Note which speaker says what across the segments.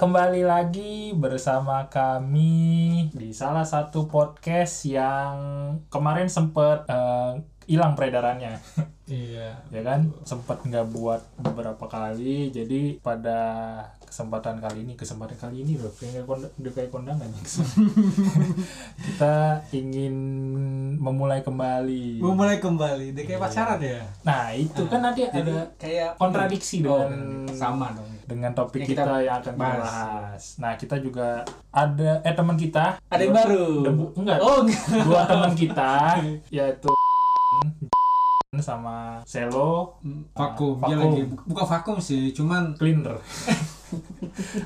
Speaker 1: Kembali lagi bersama kami di salah satu podcast yang kemarin sempet eh, hilang peredarannya,
Speaker 2: Iya.
Speaker 1: ya kan? Sempet nggak buat beberapa kali, jadi pada kesempatan kali ini, kesempatan kali ini loh, kayak konda- udah kayak kondangan. Kita ingin memulai kembali.
Speaker 2: Mau mulai kembali, dia kayak pacaran ya.
Speaker 1: Nah itu kan nanti
Speaker 2: Jadi
Speaker 1: ada
Speaker 2: kayak
Speaker 1: kontradiksi
Speaker 2: Oh,
Speaker 1: dengan
Speaker 2: sama dong.
Speaker 1: dengan topik
Speaker 2: Yang
Speaker 1: kita,
Speaker 2: kita
Speaker 1: yang akan kita
Speaker 2: bahas.
Speaker 1: bahas. Nah, kita juga ada eh teman kita,
Speaker 2: Ada yang baru.
Speaker 1: Debu- enggak.
Speaker 2: Oh, enggak.
Speaker 1: dua teman kita yaitu sama Selo
Speaker 2: Hmm, Vakum, dia
Speaker 1: Hmm, Vakum.
Speaker 2: lagi bukan vakum sih, cuman
Speaker 1: Cleaner.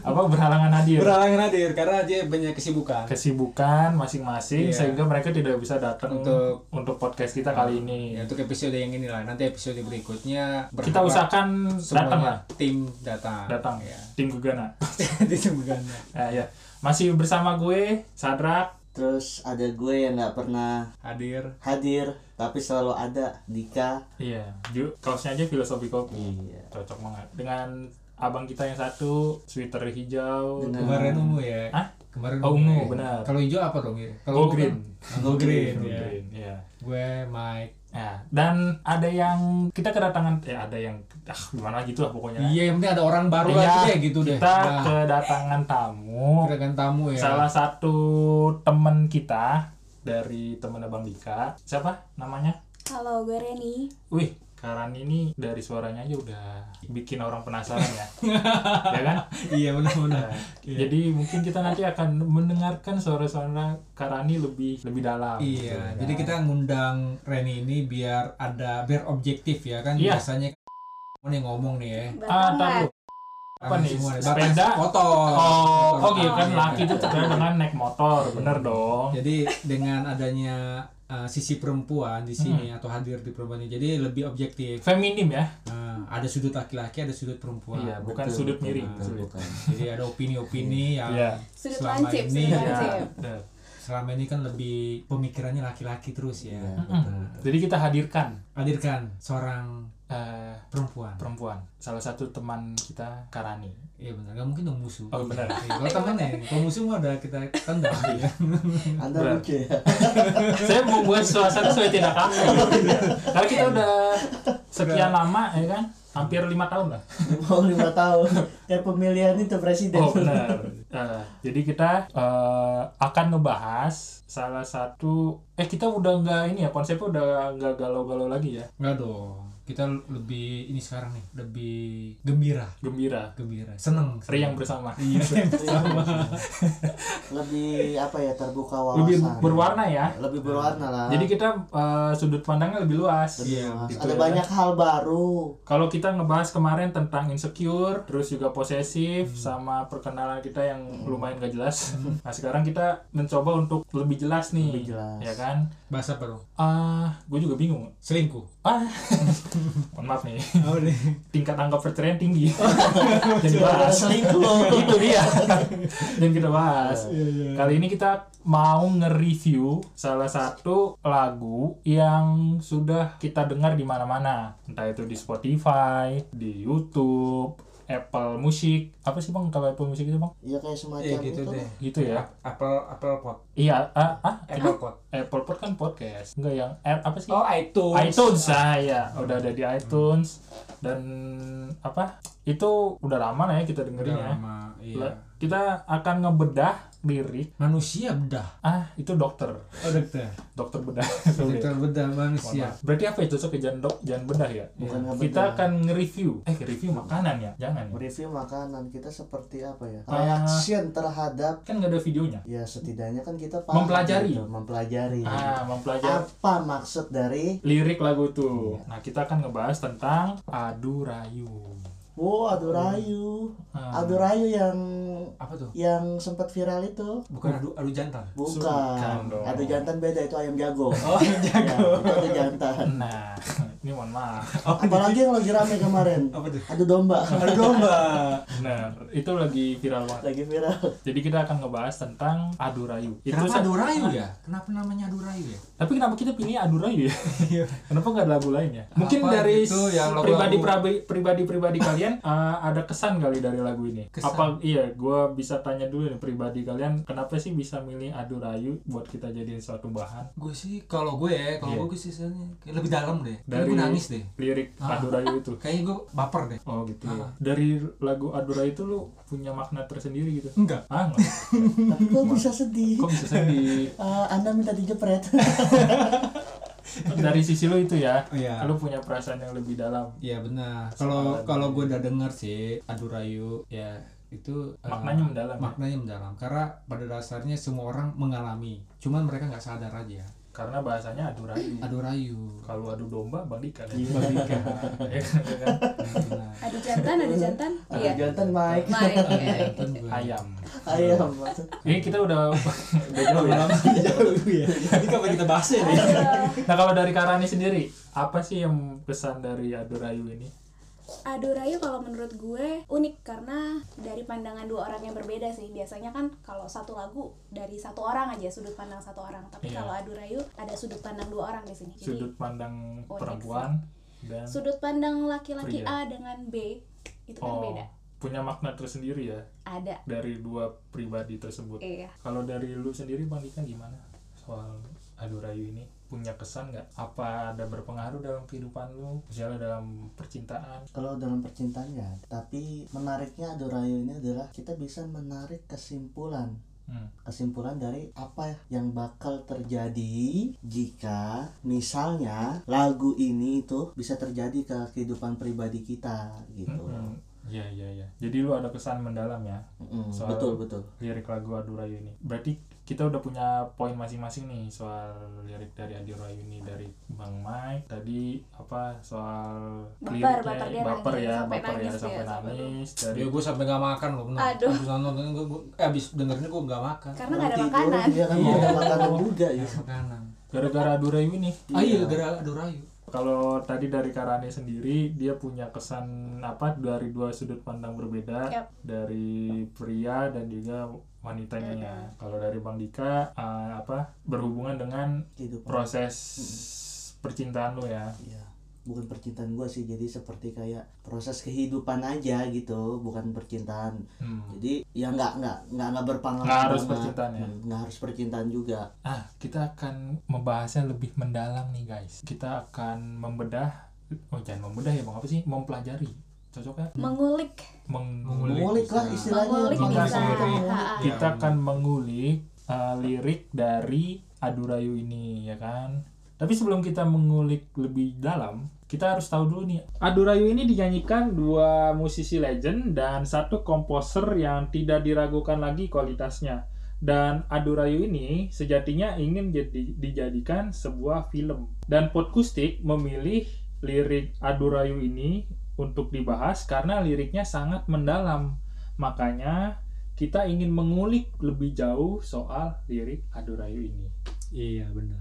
Speaker 1: Apa berhalangan hadir.
Speaker 2: berhalangan hadir karena dia banyak kesibukan.
Speaker 1: kesibukan masing-masing
Speaker 2: Iya.
Speaker 1: sehingga mereka tidak bisa datang
Speaker 2: Untuk-
Speaker 1: untuk podcast kita kali ini.
Speaker 2: Ya, untuk episode yang ini lah, nanti episode berikutnya
Speaker 1: Kita
Speaker 2: berharap
Speaker 1: usahakan
Speaker 2: semuanya
Speaker 1: datang lah,
Speaker 2: Tim datang.
Speaker 1: datang
Speaker 2: Ya.
Speaker 1: tim Gegana.
Speaker 2: Di Sugana.
Speaker 1: Nah, ya. Masih bersama gue Sadrak.
Speaker 3: Terus ada gue yang nggak pernah
Speaker 2: Hadir.
Speaker 3: hadir tapi selalu ada Dika.
Speaker 1: Iya, Ju- kaosnya aja filosofi kopi.
Speaker 3: Iya.
Speaker 1: cocok banget dengan abang kita yang satu sweater hijau
Speaker 3: Dengan-
Speaker 2: Kemarin ungu ya.
Speaker 1: Hah?
Speaker 2: Kemarin
Speaker 1: Hmm. Oh,
Speaker 2: ungu,
Speaker 1: ungu,
Speaker 2: ya.
Speaker 1: benar.
Speaker 2: Kalau hijau apa dong ya?
Speaker 1: Go
Speaker 2: Kalau ungu
Speaker 1: green.
Speaker 2: kan- Go green.
Speaker 1: Go
Speaker 2: ya.
Speaker 1: green, iya.
Speaker 2: Gue Mike.
Speaker 1: Nah, dan ada yang kita kedatangan eh ada yang ah gimana gitu lah pokoknya
Speaker 2: Iya, yang penting ada orang baru
Speaker 1: Iya,
Speaker 2: aja deh gitu deh.
Speaker 1: kita
Speaker 2: Nah,
Speaker 1: kedatangan tamu
Speaker 2: kedatangan tamu ya.
Speaker 1: salah satu temen kita dari temen abang Dika siapa namanya
Speaker 4: Halo, gue Reni.
Speaker 1: wih Karan ini dari suaranya aja udah bikin orang penasaran ya ya kan
Speaker 2: iya benar-benar. Iya.
Speaker 1: Jadi mungkin kita nanti akan mendengarkan suara-suara Karani lebih lebih dalam. gitu,
Speaker 2: Iya,
Speaker 1: kan.
Speaker 2: jadi kita ngundang Reni ini biar ada biar objektif ya kan
Speaker 1: Iya.
Speaker 2: biasanya kan yang ngomong nih ya.
Speaker 1: ah
Speaker 4: Batangan.
Speaker 1: tahu. Apa
Speaker 2: Rame
Speaker 1: nih?
Speaker 2: semua, ada
Speaker 1: Sepeda?
Speaker 2: batas, Motor.
Speaker 1: Oh,
Speaker 2: Motor.
Speaker 1: oh gitu kan
Speaker 2: Iya,
Speaker 1: laki itu terkenal dengan naik motor, bener dong.
Speaker 2: Jadi dengan adanya uh, sisi perempuan di sini
Speaker 1: Hmm.
Speaker 2: atau hadir di perempuan ini, jadi lebih objektif.
Speaker 1: Feminim ya.
Speaker 2: Nah, ada sudut laki-laki, ada sudut perempuan.
Speaker 1: Iya, bukan
Speaker 3: betul,
Speaker 1: sudut
Speaker 3: betul,
Speaker 1: miring.
Speaker 3: betul,
Speaker 1: sudut.
Speaker 3: bukan.
Speaker 2: Jadi ada opini-opini yang
Speaker 1: Iya.
Speaker 4: Sudut
Speaker 2: Selama
Speaker 4: lancip,
Speaker 2: ini-
Speaker 4: sudut
Speaker 2: Iya.
Speaker 1: Iya.
Speaker 4: lancip.
Speaker 1: betul.
Speaker 2: selama ini kan lebih pemikirannya laki-laki terus ya.
Speaker 3: Iya,
Speaker 1: Mm-mm. Jadi kita hadirkan
Speaker 2: Hadirkan seorang
Speaker 1: eh,
Speaker 2: perempuan.
Speaker 1: perempuan, salah satu teman kita Karani.
Speaker 2: Iya benar, nggak mungkin dong musuh.
Speaker 1: Oh, benar.
Speaker 2: Iya, Kalau temennya, kalau musuh mah udah kita tendang. ya.
Speaker 3: Anda
Speaker 1: Berat.
Speaker 3: lucu ya.
Speaker 1: Saya mau buat suasana supaya tidak kaku. Iya. Karena kita udah sekian lama ya kan, hampir lima tahun lah.
Speaker 3: Mau lima tahun. Kayak pemilihan itu presiden.
Speaker 1: Oh benar. Eh, jadi kita eh, akan ngebahas salah satu eh kita udah nggak ini ya konsepnya udah nggak galau-galau lagi ya
Speaker 2: Nggak dong. Kita lebih ini sekarang nih, lebih gembira,
Speaker 1: gembira
Speaker 2: gembira, seneng.
Speaker 1: riang bersama
Speaker 2: Iya, riang bersama.
Speaker 3: Lebih apa ya terbuka wawasan.
Speaker 1: lebih berwarna ya.
Speaker 3: Lebih berwarna lah.
Speaker 1: Jadi kita eh, sudut pandangnya lebih luas.
Speaker 3: Ah. Lebih
Speaker 2: Iya,
Speaker 3: luas.
Speaker 1: gitu
Speaker 3: ada
Speaker 1: ya.
Speaker 3: banyak hal baru.
Speaker 1: Kalau kita ngebahas kemarin tentang insecure, terus juga posesif
Speaker 3: Hmm.
Speaker 1: sama perkenalan kita yang lumayan gak jelas. Nah sekarang kita mencoba untuk lebih jelas nih,
Speaker 3: Lebih jelas.
Speaker 1: ya kan?
Speaker 2: Bahasa apa dong?
Speaker 1: Ah, gue juga bingung.
Speaker 2: Selingkuh.
Speaker 1: Ah, mohon maaf nih.
Speaker 2: Oh, deh.
Speaker 1: tingkat anggap perceraian tinggi. Jadi bahas
Speaker 3: Selingkuh.
Speaker 1: itu dia. Dan kita bahas.
Speaker 2: Iya, iya.
Speaker 1: Kali ini kita mau nge-review salah satu lagu yang sudah kita dengar di mana-mana. Entah itu di Spotify, di YouTube, Apple Music. Apa sih Bang kalau Apple Music itu, Bang?
Speaker 3: Iya kayak semacam
Speaker 2: Iya, gitu
Speaker 3: itu.
Speaker 2: deh.
Speaker 1: Gitu ya.
Speaker 2: Apple Apple Pod,
Speaker 1: Iya, ah, ah,
Speaker 2: Apple Pod.
Speaker 1: Apple Pod kan podcast. Enggak yang eh, apa sih?
Speaker 2: Oh, iTunes. Ah.
Speaker 1: iTunes saya udah ada di iTunes dan apa itu udah lama lah ya kita dengerin
Speaker 2: Udah
Speaker 1: ya
Speaker 2: lama, iya.
Speaker 1: Lah, kita akan ngebedah lirik
Speaker 2: Manusia bedah.
Speaker 1: ah itu dokter
Speaker 2: Oh, dokter.
Speaker 1: dokter bedah Sorry.
Speaker 2: Dokter bedah manusia.
Speaker 1: Maaf. berarti apa itu cocok jangan dok jangan bedah
Speaker 2: Iya.
Speaker 1: ya
Speaker 3: Bukan ngebedah.
Speaker 1: kita akan nge-review eh review makanan ya jangan ya
Speaker 3: Review makanan kita seperti apa ya?
Speaker 1: Ah.
Speaker 3: Reaction terhadap
Speaker 1: kan nggak ada videonya
Speaker 3: ya setidaknya kan kita paham
Speaker 1: Mempelajari.
Speaker 3: gitu, mempelajari.
Speaker 2: Iya.
Speaker 1: ah mempelajari
Speaker 3: Apa maksud dari
Speaker 1: lirik lagu itu
Speaker 2: Iya.
Speaker 1: nah kita akan ngebahas tentang adu rayu
Speaker 3: Wow, Adurayu.
Speaker 1: Ah.
Speaker 3: Adurayu yang
Speaker 2: Apa tuh?
Speaker 3: yang sempat viral itu.
Speaker 2: Bukan adu adu jantan.
Speaker 3: Bukan.
Speaker 1: Bukan dong.
Speaker 3: Adu jantan beda itu ayam jago.
Speaker 2: Oh,
Speaker 3: Ya, itu adu jantan.
Speaker 1: Nah, Ini mohon maaf.
Speaker 3: Apalagi yang lagi rame kemarin.
Speaker 2: Apa tuh?
Speaker 3: Ada domba.
Speaker 2: Ada domba.
Speaker 1: Benar, itu lagi viral banget.
Speaker 3: lagi viral.
Speaker 1: Jadi kita akan ngebahas tentang adu rayu. Itu
Speaker 2: Kenapa
Speaker 1: sa-
Speaker 2: adu rayu ya? Kenapa namanya adu rayu ya?
Speaker 1: Tapi kenapa kita pilih adu rayu ya? kenapa nggak lagu lainnya? Mungkin
Speaker 2: Apa
Speaker 1: dari
Speaker 2: Iya. gitu yang lagu-lagu-
Speaker 1: pribadi pribadi pribadi kalian eh, ada kesan kali dari lagu ini.
Speaker 2: Kesan.
Speaker 1: Apa iya? Gua bisa tanya dulu nih pribadi kalian kenapa sih bisa milih adu rayu buat kita jadiin suatu bahan
Speaker 2: Gue sih kalau gue ya, kalau
Speaker 1: Iya.
Speaker 2: gue gue sih sebenarnya kayak lebih dalam deh. Dari...
Speaker 1: dari
Speaker 2: Gue nangis deh.
Speaker 1: lirik
Speaker 2: Ah.
Speaker 1: adu rayu itu.
Speaker 2: Kayaknya gue baper deh.
Speaker 1: Oh gitu. ya.
Speaker 2: Ah.
Speaker 1: Dari lagu adu rayu itu lu punya makna tersendiri gitu.
Speaker 2: Enggak.
Speaker 1: Ah, nggak.
Speaker 3: Tapi kok bisa sedih?
Speaker 1: Kok bisa sedih?
Speaker 3: Eh, anda minta dijepret.
Speaker 1: dari sisi lu itu ya.
Speaker 2: Oh, iya.
Speaker 1: Lu punya perasaan yang lebih dalam.
Speaker 2: Iya benar. Kalau
Speaker 1: Soalan
Speaker 2: kalau gue udah denger sih adu rayu ya itu eh,
Speaker 1: Maknanya mendalam ya?
Speaker 2: Maknanya mendalam karena pada dasarnya semua orang mengalami. Cuman mereka nggak sadar aja.
Speaker 1: Karena bahasanya adu rayu.
Speaker 2: Adu rayu.
Speaker 1: Kalau adu domba balikan. ya.
Speaker 2: Balikan.
Speaker 1: Ya kan?
Speaker 2: Benar.
Speaker 4: Ada jantan, ada jantan.
Speaker 3: Ada
Speaker 1: Ah.
Speaker 4: Iya.
Speaker 3: jantan Mike.
Speaker 4: Mike. iya.
Speaker 2: Kan gua-
Speaker 1: Ayam.
Speaker 3: Ayam maksud.
Speaker 1: Ini kita udah udah
Speaker 2: Iya,
Speaker 1: jauh ya.
Speaker 2: Jauh ya. Jadi kapan kita bahas ya? nih?
Speaker 4: Aduh.
Speaker 1: Nah kalau dari Karani sendiri, apa sih yang pesan dari adu rayu ini?
Speaker 4: Adu rayu kalau menurut gue unik karena dari pandangan dua orang yang berbeda sih. Biasanya kan kalau satu lagu dari satu orang aja sudut pandang satu orang. Tapi
Speaker 1: Iya.
Speaker 4: kalau adu rayu ada sudut pandang dua orang di sini. Jadi
Speaker 1: Sudut pandang
Speaker 4: unik
Speaker 1: perempuan dan
Speaker 4: sudut pandang laki-laki
Speaker 1: Pria.
Speaker 4: A dengan B itu
Speaker 1: iya.
Speaker 4: kan
Speaker 1: oh,
Speaker 4: beda.
Speaker 1: punya makna tersendiri ya
Speaker 4: Ada.
Speaker 1: dari dua pribadi tersebut.
Speaker 4: Iya.
Speaker 1: Kalau dari lu sendiri Bang Dika gimana soal adu rayu ini? Punya kesan nggak? Apa ada berpengaruh dalam kehidupan lu? Misalnya dalam percintaan?
Speaker 3: Kalau dalam percintaan ya, tapi menariknya adu rayu ini adalah kita bisa menarik kesimpulan
Speaker 1: Hmm.
Speaker 3: kesimpulan dari apa yang bakal terjadi jika misalnya lagu ini itu bisa terjadi ke kehidupan pribadi kita gitu.
Speaker 1: Hmm. Iya iya iya. Jadi lu ada kesan mendalam ya
Speaker 3: Mm-mm,
Speaker 1: Soal-
Speaker 3: Betul betul.
Speaker 1: lirik lagu Adu Rayu ini. Berarti kita udah punya poin masing-masing nih soal lirik dari Adu Rayu ini dari Bang Mike tadi apa soal
Speaker 4: Baper,
Speaker 1: liriknya
Speaker 4: baper dia
Speaker 1: baper ya
Speaker 4: nangis, sampai
Speaker 1: baper ya sampai
Speaker 4: nangis dia, sampai
Speaker 1: nangis dari
Speaker 2: Aduh, gue Iya, sampai gak makan loh benar.
Speaker 4: Aduh.
Speaker 2: Abis nonton gue, gue eh, abis dengerin gue gak makan.
Speaker 4: Karena nggak ada
Speaker 3: Belum tidur,
Speaker 4: makanan.
Speaker 3: Iya kan nggak ada makanan juga
Speaker 2: Nggak
Speaker 3: ya.
Speaker 2: ada Makanan.
Speaker 1: gara-gara Adu Rayu ini.
Speaker 2: Ah iya, gara adu rayu.
Speaker 1: Kalau tadi dari Karane sendiri dia punya kesan apa dari dua sudut pandang berbeda
Speaker 4: Yap.
Speaker 1: dari pria dan juga wanitanya. Kalau dari Bang Dika eh, apa berhubungan dengan
Speaker 3: Kehidupan.
Speaker 1: proses percintaan lu ya.
Speaker 3: Iya. Bukan percintaan gue sih, jadi seperti kayak proses kehidupan aja gitu, bukan percintaan.
Speaker 1: Hmm.
Speaker 3: Jadi ya nggak nggak nggak nggak berpanggang.
Speaker 1: Nggak harus
Speaker 3: banget.
Speaker 1: percintaan ya?
Speaker 3: Hmm, Nggak harus percintaan juga.
Speaker 1: Ah, kita akan membahasnya lebih mendalam nih guys. Kita akan membedah, oh jangan membedah ya bang, apa sih? Mempelajari, ya? cocoknya
Speaker 4: Mengulik,
Speaker 1: mengulik.
Speaker 3: Mengulik lah
Speaker 2: bisa.
Speaker 3: istilahnya.
Speaker 4: mengulik
Speaker 1: Mengulik.
Speaker 4: bisa.
Speaker 1: Mengulik. Iya.
Speaker 4: Ha-ha.
Speaker 1: Kita akan mengulik uh, lirik dari Adu Rayu ini, ya kan? Tapi sebelum kita mengulik lebih dalam, kita harus tahu dulu nih. Adu Rayu ini dinyanyikan dua musisi legend dan satu komposer yang tidak diragukan lagi kualitasnya. Dan Adu Rayu ini sejatinya ingin jadi, dijadikan sebuah film. Dan Podkustik memilih lirik Adu Rayu ini untuk dibahas karena liriknya sangat mendalam. Makanya kita ingin mengulik lebih jauh soal lirik Adu Rayu ini.
Speaker 2: Iya benar.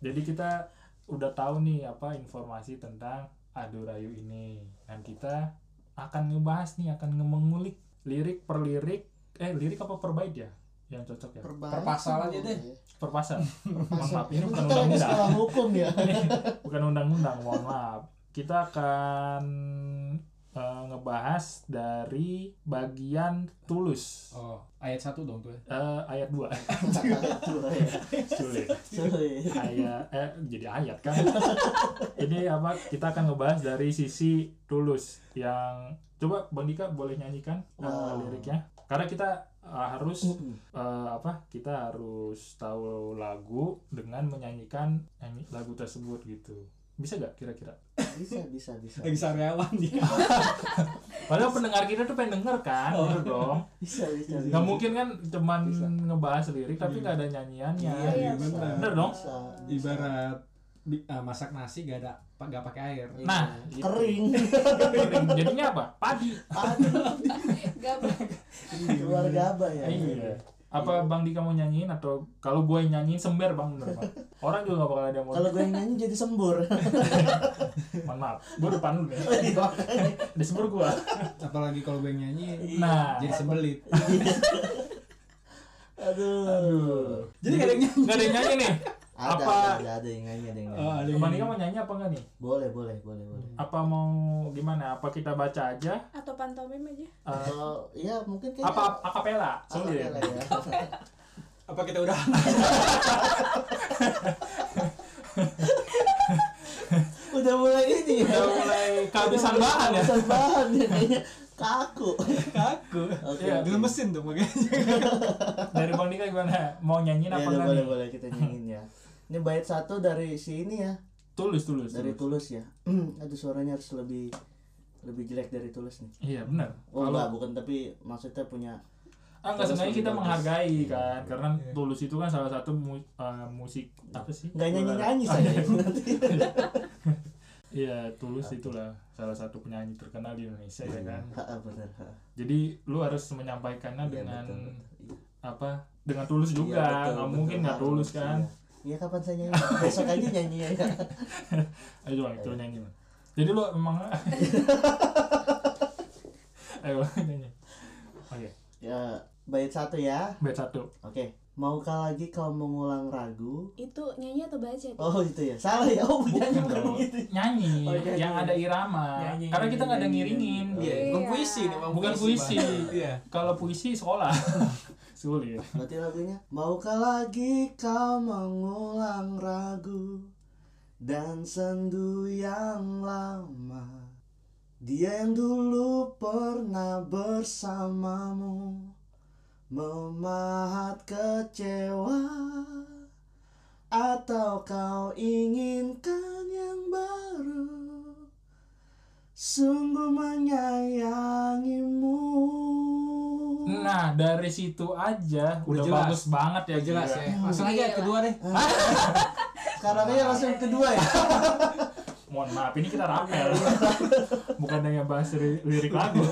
Speaker 1: Jadi kita udah tahu nih apa informasi tentang Adu Rayu ini. Dan kita akan ngebahas nih, akan nge- mengulik lirik per lirik, eh lirik apa per bait ya? Yang cocok ya?
Speaker 2: Perpasal aja deh.
Speaker 1: Per pasal. Mohon
Speaker 3: Perpasal.
Speaker 1: maaf, ini bukan
Speaker 3: Kita lagi
Speaker 1: undang-undang.
Speaker 3: sekolah hukum ya.
Speaker 1: bukan undang-undang, mohon maaf. Kita akan eh, ngebahas dari bagian tulus.
Speaker 2: Oh ayat satu dong tuh. ya.
Speaker 1: Eh, ayat 2 sulit
Speaker 3: Sorry.
Speaker 1: ayat eh jadi ayat kan ini apa kita akan ngebahas dari sisi tulus yang coba bang Dika boleh nyanyikan eh,
Speaker 3: Wow.
Speaker 1: liriknya karena kita eh, harus eh, apa kita harus tahu lagu dengan menyanyikan nyanyi- lagu tersebut gitu bisa gak kira-kira
Speaker 3: Bisa bisa bisa.
Speaker 2: Lagi sariawan ya. dia.
Speaker 1: padahal pendengar kita tuh pengen denger kan
Speaker 3: Oh.
Speaker 1: bener dong
Speaker 3: Bisa bisa. bisa.
Speaker 1: nggak mungkin kan cuman
Speaker 3: Iya, Bisa.
Speaker 1: ngebahas lirik tapi nggak ada nyanyiannya
Speaker 3: Iya,
Speaker 4: iya,
Speaker 3: bisa.
Speaker 2: benar.
Speaker 1: Bener dong?
Speaker 3: Bisa.
Speaker 2: Ibarat bi- ah, masak nasi gak ada pa- gak pakai air.
Speaker 1: Nah,
Speaker 3: Iya.
Speaker 1: gitu.
Speaker 3: kering.
Speaker 1: jadinya apa padi
Speaker 3: Aduh,
Speaker 4: Gabung.
Speaker 3: keluar gabah ya.
Speaker 1: Iya. Apa Bang Dika mau nyanyiin atau kalau gue yang nyanyiin sember Bang bener Bang. Orang juga gak bakal ada yang mau.
Speaker 3: Kalau gue yang nyanyi jadi sembur.
Speaker 1: Mohon maaf, gue depan lu nih. Di sembur gue.
Speaker 2: apalagi kalau gue nyanyi
Speaker 1: Nah,
Speaker 2: jadi sembelit
Speaker 3: Aduh.
Speaker 1: aduh.
Speaker 2: jadi kadang nyanyi
Speaker 1: Gak ada yang nyanyi nih.
Speaker 3: Ada,
Speaker 1: Apa?
Speaker 3: ada, ada, ada yang nyanyi, ada yang nyanyi.
Speaker 2: Ah, ada yang
Speaker 1: Bang Dika mau
Speaker 2: nyanyi.
Speaker 1: nyanyi apa enggak nih?
Speaker 3: Boleh, boleh, boleh, boleh.
Speaker 1: Apa mau gimana? Apa kita baca aja?
Speaker 4: atau pantomim
Speaker 1: Eh,
Speaker 4: aja
Speaker 3: Atau ya mungkin kayaknya
Speaker 1: apa akapela? Sulit.
Speaker 3: Akapela ya.
Speaker 2: apa kita udah
Speaker 3: Udah mulai ini ya.
Speaker 1: Udah mulai kehabisan bahan ya.
Speaker 3: Kehabisan bahan ya kayaknya. Kaku.
Speaker 2: kaku
Speaker 3: Oke.
Speaker 1: Iya,
Speaker 3: oke.
Speaker 2: dulu mesin tuh makanya
Speaker 1: Dari Bang Dika gimana? Mau nyanyiin
Speaker 3: Iya,
Speaker 1: apa
Speaker 3: udah
Speaker 1: enggak
Speaker 3: boleh,
Speaker 1: nih?
Speaker 3: boleh kita nyanyiin ya. Ini bait satu dari si ini ya,
Speaker 1: Tulus, tulus.
Speaker 3: dari
Speaker 1: tulus.
Speaker 3: Tulus ya. Aduh suaranya harus lebih lebih jelek dari Tulus nih.
Speaker 1: Iya, benar.
Speaker 3: Oh
Speaker 1: Kalau
Speaker 3: enggak, bukan tapi maksudnya punya
Speaker 1: Ah, nggak
Speaker 3: Tulus
Speaker 1: sengaja
Speaker 3: lebih
Speaker 1: kita
Speaker 3: bagus.
Speaker 1: menghargai kan, karena
Speaker 3: Iya.
Speaker 1: tulus itu kan salah satu mu- eh, musik apa sih?
Speaker 3: nggak nyanyi nyanyi
Speaker 1: Populer. Ah,
Speaker 3: saya nanti.
Speaker 1: Iya, tulus itulah salah satu penyanyi terkenal di Indonesia
Speaker 3: Iya.
Speaker 1: ya kan.
Speaker 3: Ha, bener. ha.
Speaker 1: Jadi lu harus menyampaikannya
Speaker 3: Iya,
Speaker 1: dengan
Speaker 3: betul, betul. Iya.
Speaker 1: apa? Dengan tulus juga,
Speaker 3: Iya, betul,
Speaker 1: nggak
Speaker 3: betul,
Speaker 1: mungkin nggak
Speaker 3: harus,
Speaker 1: tulus kan.
Speaker 3: iya. Iya kapan saya nyanyi? Besok aja nyanyi ya. iya.
Speaker 1: Ayo coba itu nyanyi. Bang. Jadi lu emang Ayo Bang, nyanyi. Oke,
Speaker 3: Ya bait satu ya.
Speaker 1: bait satu.
Speaker 3: Oke. Maukah lagi kau mengulang ragu?
Speaker 4: itu nyanyi atau baca Di?
Speaker 3: Oh itu ya. Salah ya. Oh nyanyi
Speaker 1: Bukan
Speaker 3: bukan
Speaker 1: dong.
Speaker 3: begitu.
Speaker 1: Nyanyi,
Speaker 3: Oh, nyanyi.
Speaker 1: yang ada irama.
Speaker 3: Nyanyi,
Speaker 1: Karena kita
Speaker 3: nyanyi,
Speaker 1: nggak ada
Speaker 3: nyanyi,
Speaker 1: ngiringin.
Speaker 3: nyanyi.
Speaker 2: Iya, bukan puisi nih, Bang.
Speaker 1: Bukan puisi.
Speaker 2: Bang. Iya.
Speaker 1: Kalau puisi sekolah. Sulit.
Speaker 3: Berarti lagunya Maukah lagi kau mengulang ragu Dan sendu yang lama Dia yang dulu pernah bersamamu Memahat kecewa Atau kau inginkan yang baru Sungguh menyayangimu
Speaker 1: Nah, dari situ aja udah,
Speaker 2: jelas.
Speaker 1: bagus banget ya.
Speaker 2: ya jelas
Speaker 1: gila.
Speaker 2: ya langsung aja
Speaker 4: Iya.
Speaker 2: kedua deh
Speaker 3: Sekarang aja langsung kedua ya.
Speaker 1: Mohon maaf, ini kita rapel. Bukan yang bahas ri- lirik lagu.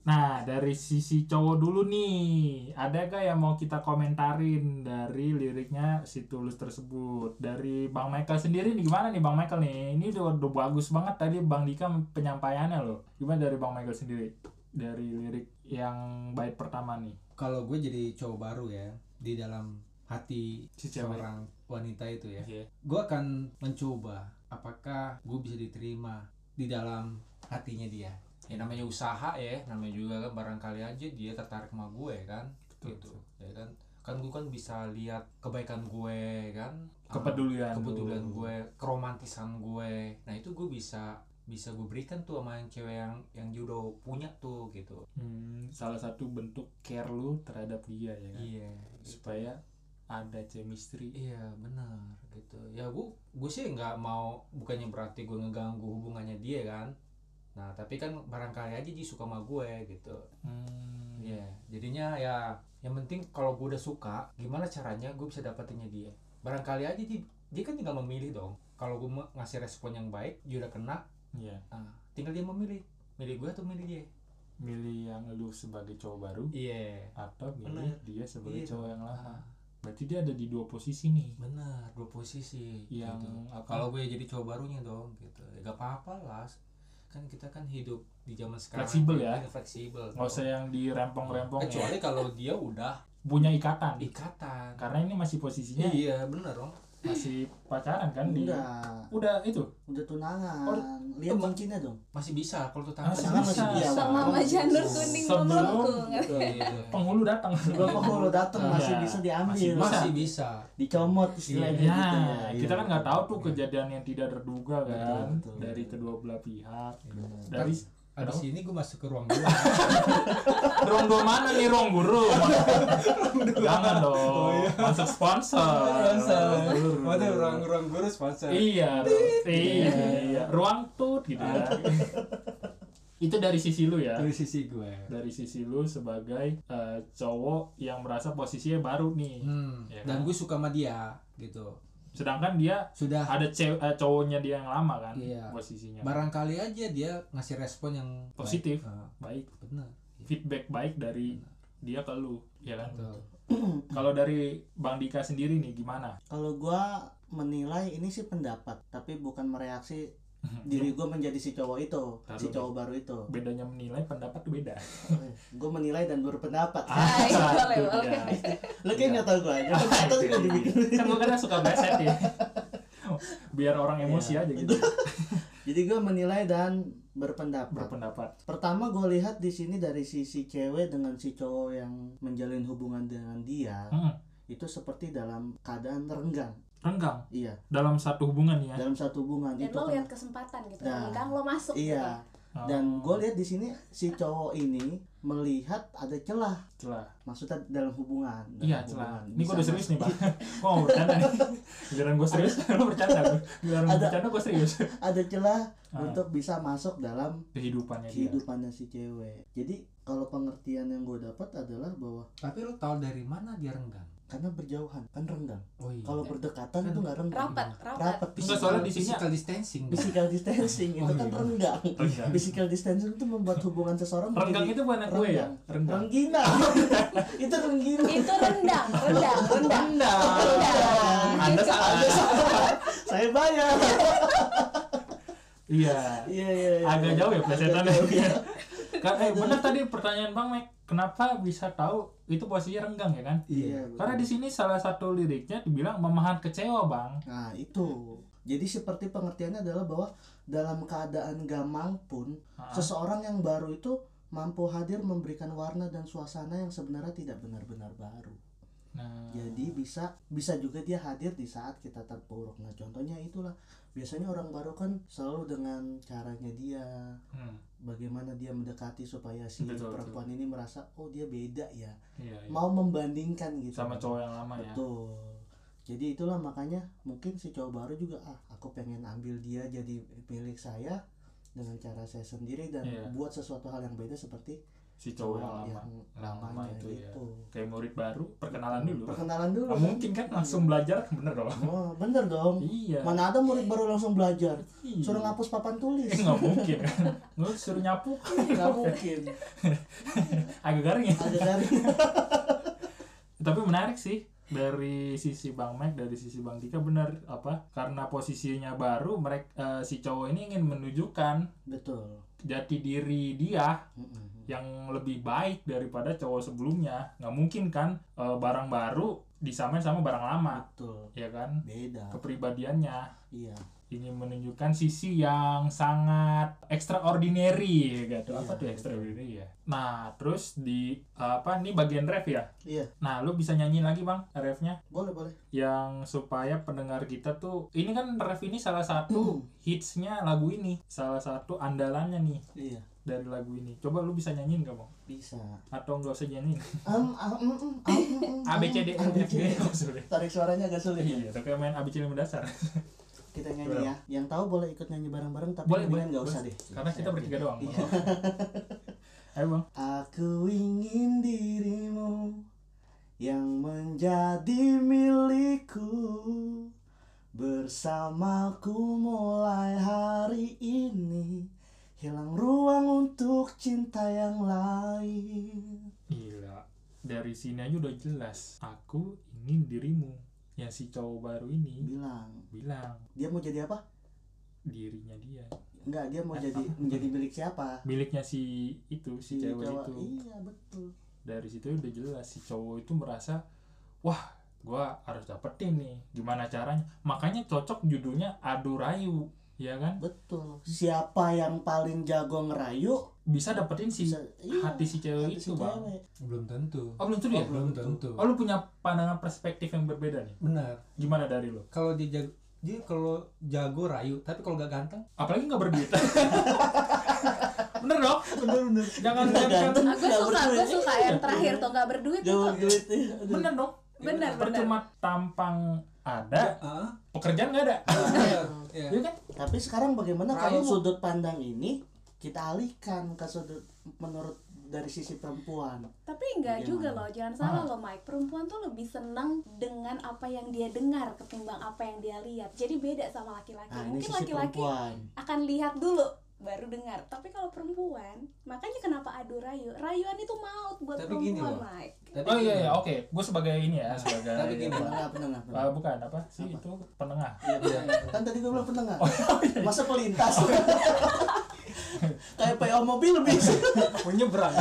Speaker 1: Nah, dari sisi cowok dulu nih, ada gak yang mau kita komentarin dari liriknya si Tulus tersebut? Dari Bang Michael sendiri nih, gimana nih Bang Michael nih? Ini udah, udah bagus banget tadi Bang Dika penyampaiannya loh. Gimana dari Bang Michael sendiri? Dari lirik yang bait pertama nih.
Speaker 2: kalau gue jadi cowok baru ya di dalam hati
Speaker 1: Si cewek.
Speaker 2: seorang wanita itu ya gue akan mencoba apakah gue bisa diterima di dalam hatinya dia ya namanya usaha ya namanya juga kan barangkali aja dia tertarik sama gue kan
Speaker 1: Betul,
Speaker 2: gitu ya kan kan gue kan bisa lihat kebaikan gue kan
Speaker 1: Kepedulian
Speaker 2: kepedulian
Speaker 1: lu.
Speaker 2: gue keromantisan gue nah itu gue bisa bisa gue berikan tuh sama yang cewek yang yang dia udah punya tuh gitu
Speaker 1: Hmm, salah satu bentuk care lu terhadap dia ya kan?
Speaker 2: iya
Speaker 1: Supaya ada chemistry.
Speaker 2: Iya benar gitu. Ya gue gue sih nggak mau bukannya berarti gue ngeganggu hubungannya dia kan. Nah tapi kan barangkali aja dia suka sama gue gitu.
Speaker 1: Hmm,
Speaker 2: Iya. Jadinya ya yang penting kalau gue udah suka, gimana caranya gue bisa dapetinnya dia. Barangkali aja dia, dia kan tinggal memilih dong. Kalau gue mau ngasih respon yang baik, dia udah kena.
Speaker 1: iya.
Speaker 2: ah, tinggal dia memilih. Milih gue atau milih dia?
Speaker 1: Milih yang lu sebagai cowok baru
Speaker 2: Iya.
Speaker 1: atau milih dia sebagai
Speaker 2: Iya.
Speaker 1: cowok yang lama. Berarti dia ada di dua posisi nih.
Speaker 2: Benar, dua posisi.
Speaker 1: Yang
Speaker 2: gitu.
Speaker 1: apa?
Speaker 2: Kalau gue jadi cowok barunya dong gitu. Ya, gak apa-apa lah. Kan kita kan hidup di zaman sekarang.
Speaker 1: Fleksibel ya?
Speaker 2: Iya, Fleksibel.
Speaker 1: Nggak usah yang dirempong-rempong ya.
Speaker 2: Kecuali kalau dia udah
Speaker 1: Punya ikatan.
Speaker 2: ikatan.
Speaker 1: Karena ini masih posisinya
Speaker 2: Iya, bener dong.
Speaker 1: masih pacaran kan di.
Speaker 3: Udah,
Speaker 1: Udah itu.
Speaker 3: udah tunangan.
Speaker 1: Oh,
Speaker 3: Lihat
Speaker 2: emang-
Speaker 3: cincinnya dong.
Speaker 2: Masih bisa kalau tuh tangan.
Speaker 1: Masih
Speaker 3: Tangan masih
Speaker 1: bisa.
Speaker 3: dia.
Speaker 4: sama
Speaker 3: Wah,
Speaker 4: Maja Nur Kuning
Speaker 1: Sebelum-
Speaker 4: memelukku
Speaker 2: Iya.
Speaker 1: Penghulu datang.
Speaker 3: Belum kalau datang
Speaker 1: Iya.
Speaker 3: Oh, masih bisa
Speaker 2: Masih
Speaker 3: diambil.
Speaker 2: masih bisa.
Speaker 3: Dicomot istilahnya
Speaker 1: Ya,
Speaker 3: gitu ya.
Speaker 1: kita
Speaker 3: Iya.
Speaker 1: kan nggak tahu tuh kejadian yang tidak terduga kan
Speaker 3: betul.
Speaker 1: dari kedua belah pihak.
Speaker 2: Bener.
Speaker 1: Dari
Speaker 2: Abis ini gue masuk ke ruang dulu.
Speaker 1: Rong dua mana nih Rong Guru? Jangan dong.
Speaker 2: Oh, iya.
Speaker 1: Masuk sponsor.
Speaker 2: Waduh, ruang-ruang guru sponsor.
Speaker 1: Iya, Rong. iya, iya. Ruang tut gitu ya. Itu dari sisi lu ya.
Speaker 2: Dari sisi gue.
Speaker 1: Dari sisi lu sebagai eh, cowok yang merasa posisinya baru nih.
Speaker 2: Hmm.
Speaker 1: Iya kan?
Speaker 2: Dan gue suka sama dia gitu.
Speaker 1: Sedangkan dia
Speaker 2: Sudah
Speaker 1: ada ce- eh, cowoknya dia yang lama kan
Speaker 2: Iya.
Speaker 1: posisinya.
Speaker 2: barangkali aja dia ngasih respon yang
Speaker 1: Positif.
Speaker 2: baik. Ah,
Speaker 1: Baik,
Speaker 2: benar
Speaker 1: feedback baik dari dia ke lu ya kan
Speaker 2: Betul.
Speaker 1: kalau dari bang Dika sendiri nih gimana
Speaker 3: Kalau gua menilai ini sih pendapat, tapi bukan mereaksi diri gua menjadi si cowok itu, si
Speaker 1: Lalu-
Speaker 3: cowok baru itu.
Speaker 1: bedanya menilai pendapat tuh beda
Speaker 3: Gua menilai dan berpendapat.
Speaker 4: Ah, iya, boleh,
Speaker 1: itu
Speaker 4: boleh.
Speaker 1: dia.
Speaker 3: Lu
Speaker 1: iya.
Speaker 3: kayaknya nggak tahu gua aja. Kata juga dibikin.
Speaker 1: kan gue kadang suka beset ya biar orang emosi
Speaker 3: Iya.
Speaker 1: aja gitu
Speaker 3: Jadi gua menilai dan berpendapat.
Speaker 1: berpendapat
Speaker 3: Pertama gua lihat di sini dari sisi cewek dengan si cowok yang menjalin hubungan dengan dia
Speaker 1: Hmm,
Speaker 3: itu seperti dalam keadaan renggang.
Speaker 1: renggang
Speaker 3: Iya,
Speaker 1: dalam satu hubungan ya
Speaker 3: dalam satu hubungan
Speaker 4: dan
Speaker 3: itu
Speaker 4: lo
Speaker 3: kan-
Speaker 4: lihat kesempatan gitu
Speaker 3: Nah,
Speaker 4: nah, lo masuk gitu.
Speaker 3: Iya.
Speaker 1: Oh,
Speaker 3: Dan gue lihat di sini si cowok ini melihat ada celah,
Speaker 1: celah
Speaker 3: maksudnya dalam hubungan. dalam
Speaker 1: iya celah
Speaker 3: hubungan.
Speaker 1: ini gue udah
Speaker 3: Bisa
Speaker 1: serius nih bang gue mau bercanda nih giliran gue serius lu bercanda gua. giliran gue
Speaker 3: Ada-
Speaker 1: bercanda gue serius
Speaker 3: ma- Ada celah
Speaker 1: Ah.
Speaker 3: untuk bisa masuk dalam
Speaker 1: kehidupannya dia
Speaker 3: kehidupannya si cewek. Jadi kalau pengertian yang gue dapat adalah bahwa
Speaker 2: Tapi lo tahu dari mana dia renggang?
Speaker 3: karena berjauhan kan renggang.
Speaker 2: Oh iya.
Speaker 3: Kalau berdekatan itu nggak renggang.
Speaker 4: gitu. rapat rapat
Speaker 3: Rapat.
Speaker 1: Kan Enggak, soalnya di sini-
Speaker 2: physical distancing.
Speaker 3: Physical distancing itu
Speaker 2: Oh,
Speaker 3: kan
Speaker 2: iya.
Speaker 3: renggang.
Speaker 1: Renggang.
Speaker 3: Physical distancing itu membuat hubungan seseorang
Speaker 1: renggang
Speaker 3: menjadi
Speaker 1: itu bukan anak gue ya renggang
Speaker 3: renggina. itu renggina.
Speaker 4: itu rendang rendang rendang
Speaker 3: Rendah.
Speaker 1: anda salah
Speaker 3: Saya bayar.
Speaker 1: iya
Speaker 3: Iya iya. iya.
Speaker 1: agak jauh ya plesetan
Speaker 3: Agak jauh.
Speaker 1: ya kan eh bener tadi pertanyaan bang Mek kenapa bisa tahu itu posisinya renggang ya kan
Speaker 3: Iya. betul.
Speaker 1: karena di sini salah satu liriknya dibilang memahan kecewa bang
Speaker 3: Nah itu. Jadi seperti pengertiannya adalah bahwa dalam keadaan gamang pun
Speaker 1: Ah.
Speaker 3: seseorang yang baru itu mampu hadir memberikan warna dan suasana yang sebenarnya tidak benar-benar baru.
Speaker 1: nah
Speaker 3: Jadi bisa bisa juga dia hadir di saat kita terpuruk. Nah contohnya itulah biasanya orang baru kan selalu dengan caranya dia,
Speaker 1: hmm,
Speaker 3: bagaimana dia mendekati supaya si
Speaker 1: Betul,
Speaker 3: perempuan ini merasa oh dia beda ya,
Speaker 1: iya, iya.
Speaker 3: mau membandingkan gitu.
Speaker 1: sama cowok yang lama ya
Speaker 3: Betul. Jadi itulah makanya mungkin si cowok baru juga ah aku pengen ambil dia jadi milik saya dengan cara saya sendiri dan
Speaker 1: Iya.
Speaker 3: buat sesuatu hal yang beda seperti
Speaker 1: si cowok yang
Speaker 3: Iya.
Speaker 1: lama yang lama
Speaker 3: lamanya
Speaker 1: itu ya
Speaker 3: gitu.
Speaker 1: kayak murid baru perkenalan dulu
Speaker 3: Iya. Perkenalan dulu. Iya.
Speaker 1: Nah, mungkin kan langsung belajar bener dong
Speaker 3: Oh, bener dong.
Speaker 1: iya
Speaker 3: Mana ada murid baru langsung belajar.
Speaker 1: Iya.
Speaker 3: Suruh ngapus papan tulis.
Speaker 1: Eh, nggak mungkin kan lu suruh nyapu
Speaker 3: Nggak mungkin.
Speaker 1: agak garing ya
Speaker 3: Ada dari
Speaker 1: tapi menarik sih dari sisi Bang Mac dari sisi Bang Dika benar apa karena posisinya baru mereka si cowok ini ingin menunjukkan
Speaker 3: betul.
Speaker 1: jati diri dia
Speaker 3: Mm-mm.
Speaker 1: yang lebih baik daripada cowok sebelumnya nggak mungkin kan eh, barang baru disamain sama barang lama
Speaker 3: Betul.
Speaker 1: ya kan
Speaker 3: Beda.
Speaker 1: kepribadiannya
Speaker 3: Iya.
Speaker 1: ingin menunjukkan sisi yang sangat extraordinary ya gitu. apa
Speaker 3: Iya.
Speaker 1: tuh extraordinary ya nah terus di eh, apa nih bagian ref ya
Speaker 3: Iya,
Speaker 1: nah lu bisa nyanyi lagi bang refnya
Speaker 3: boleh boleh.
Speaker 1: yang supaya pendengar kita tuh ini kan ref ini salah satu hitsnya lagu ini salah satu andalannya nih
Speaker 3: Iya,
Speaker 1: dari lagu ini coba lu bisa nyanyiin gak bang
Speaker 3: bisa.
Speaker 1: atau nggak usah nyanyiin
Speaker 3: Em, ah, em, em, em, em, em,
Speaker 1: A B C D E F G
Speaker 3: em.
Speaker 1: maksudnya
Speaker 3: Tarik suaranya agak sulit ya.
Speaker 1: iya tapi main A B C lima dasar
Speaker 3: Kita nyanyi ya. Yang tahu boleh ikut nyanyi bareng-bareng tapi
Speaker 1: Boleh, boleh,
Speaker 3: mendingan nggak usah
Speaker 1: boleh.
Speaker 3: deh.
Speaker 1: karena kita bertiga doang
Speaker 3: Iya.
Speaker 1: ayo bang
Speaker 3: Aku ingin dirimu yang menjadi milikku Bersamaku mulai hari ini Hilang ruang untuk cinta yang lain
Speaker 1: gila dari sini aja udah jelas aku ingin dirimu yang si cowok baru ini
Speaker 3: Bilang,
Speaker 1: bilang
Speaker 3: dia mau jadi apa?
Speaker 1: dirinya dia
Speaker 3: Enggak, dia
Speaker 1: Eh,
Speaker 3: mau jadi
Speaker 1: apa?
Speaker 3: menjadi milik siapa?
Speaker 1: miliknya si itu si, cewek
Speaker 3: cowok.
Speaker 1: itu
Speaker 3: Iya, betul
Speaker 1: dari situ udah jelas si cowok itu merasa wah gua harus dapetin nih gimana caranya makanya cocok judulnya adu rayu ya kan
Speaker 3: Betul. Siapa yang paling jago ngerayu
Speaker 1: bisa dapetin si
Speaker 3: bisa iya,
Speaker 1: hati si cewek
Speaker 3: hati
Speaker 1: itu bang
Speaker 3: cewek.
Speaker 2: Belum tentu.
Speaker 1: oh belum tuh ya
Speaker 2: belum tentu.
Speaker 1: oh lu punya pandangan perspektif yang berbeda nih
Speaker 2: Benar.
Speaker 1: gimana dari lu
Speaker 2: Kalau dia jago dia kalau jago rayu, tapi kalau gak ganteng,
Speaker 1: apalagi nggak berduit bener dong
Speaker 3: Bener bener.
Speaker 1: jangan
Speaker 3: Nggak
Speaker 1: jangan
Speaker 3: ganteng.
Speaker 4: gue
Speaker 3: Nggak
Speaker 4: suka gue
Speaker 3: berduit.
Speaker 4: suka yang terakhir tuh nggak berduit itu
Speaker 3: Jangan gitu. duit. Aduh.
Speaker 1: bener dong
Speaker 4: benar benar
Speaker 1: Iya, percuma tampang ada
Speaker 2: ah,
Speaker 1: pekerjaan nggak ada
Speaker 2: benar. Iya.
Speaker 1: ya kan
Speaker 3: Tapi sekarang bagaimana kalau
Speaker 2: Rayu.
Speaker 3: sudut pandang ini kita alihkan ke sudut menurut dari sisi perempuan.
Speaker 4: tapi
Speaker 3: Bagaimana?
Speaker 4: enggak juga loh jangan salah loh Mike perempuan tuh lebih senang dengan apa yang dia dengar ketimbang apa yang dia lihat jadi beda sama laki-laki
Speaker 3: Nah, ini
Speaker 4: mungkin
Speaker 3: sisi
Speaker 4: laki-laki
Speaker 3: perempuan.
Speaker 4: akan lihat dulu baru dengar tapi kalau perempuan makanya kenapa adu rayu rayuan itu maut buat
Speaker 2: Tapi gini
Speaker 4: perempuan
Speaker 2: loh.
Speaker 4: Mike
Speaker 2: Tapi
Speaker 1: Oh iya
Speaker 2: gini,
Speaker 1: iya, oke. Gue sebagai ini ya, sebagai
Speaker 2: Tapi gini.
Speaker 3: Penengah, penengah, penengah.
Speaker 1: Ah, bukan apa sih
Speaker 3: Apa?
Speaker 1: itu penengah.
Speaker 3: Iya, bener. kan tadi gue bilang penengah.
Speaker 2: Oh, iya,
Speaker 3: Masa pelintas? Kayak PO mobil Iya. bisa.
Speaker 2: mau nyebrang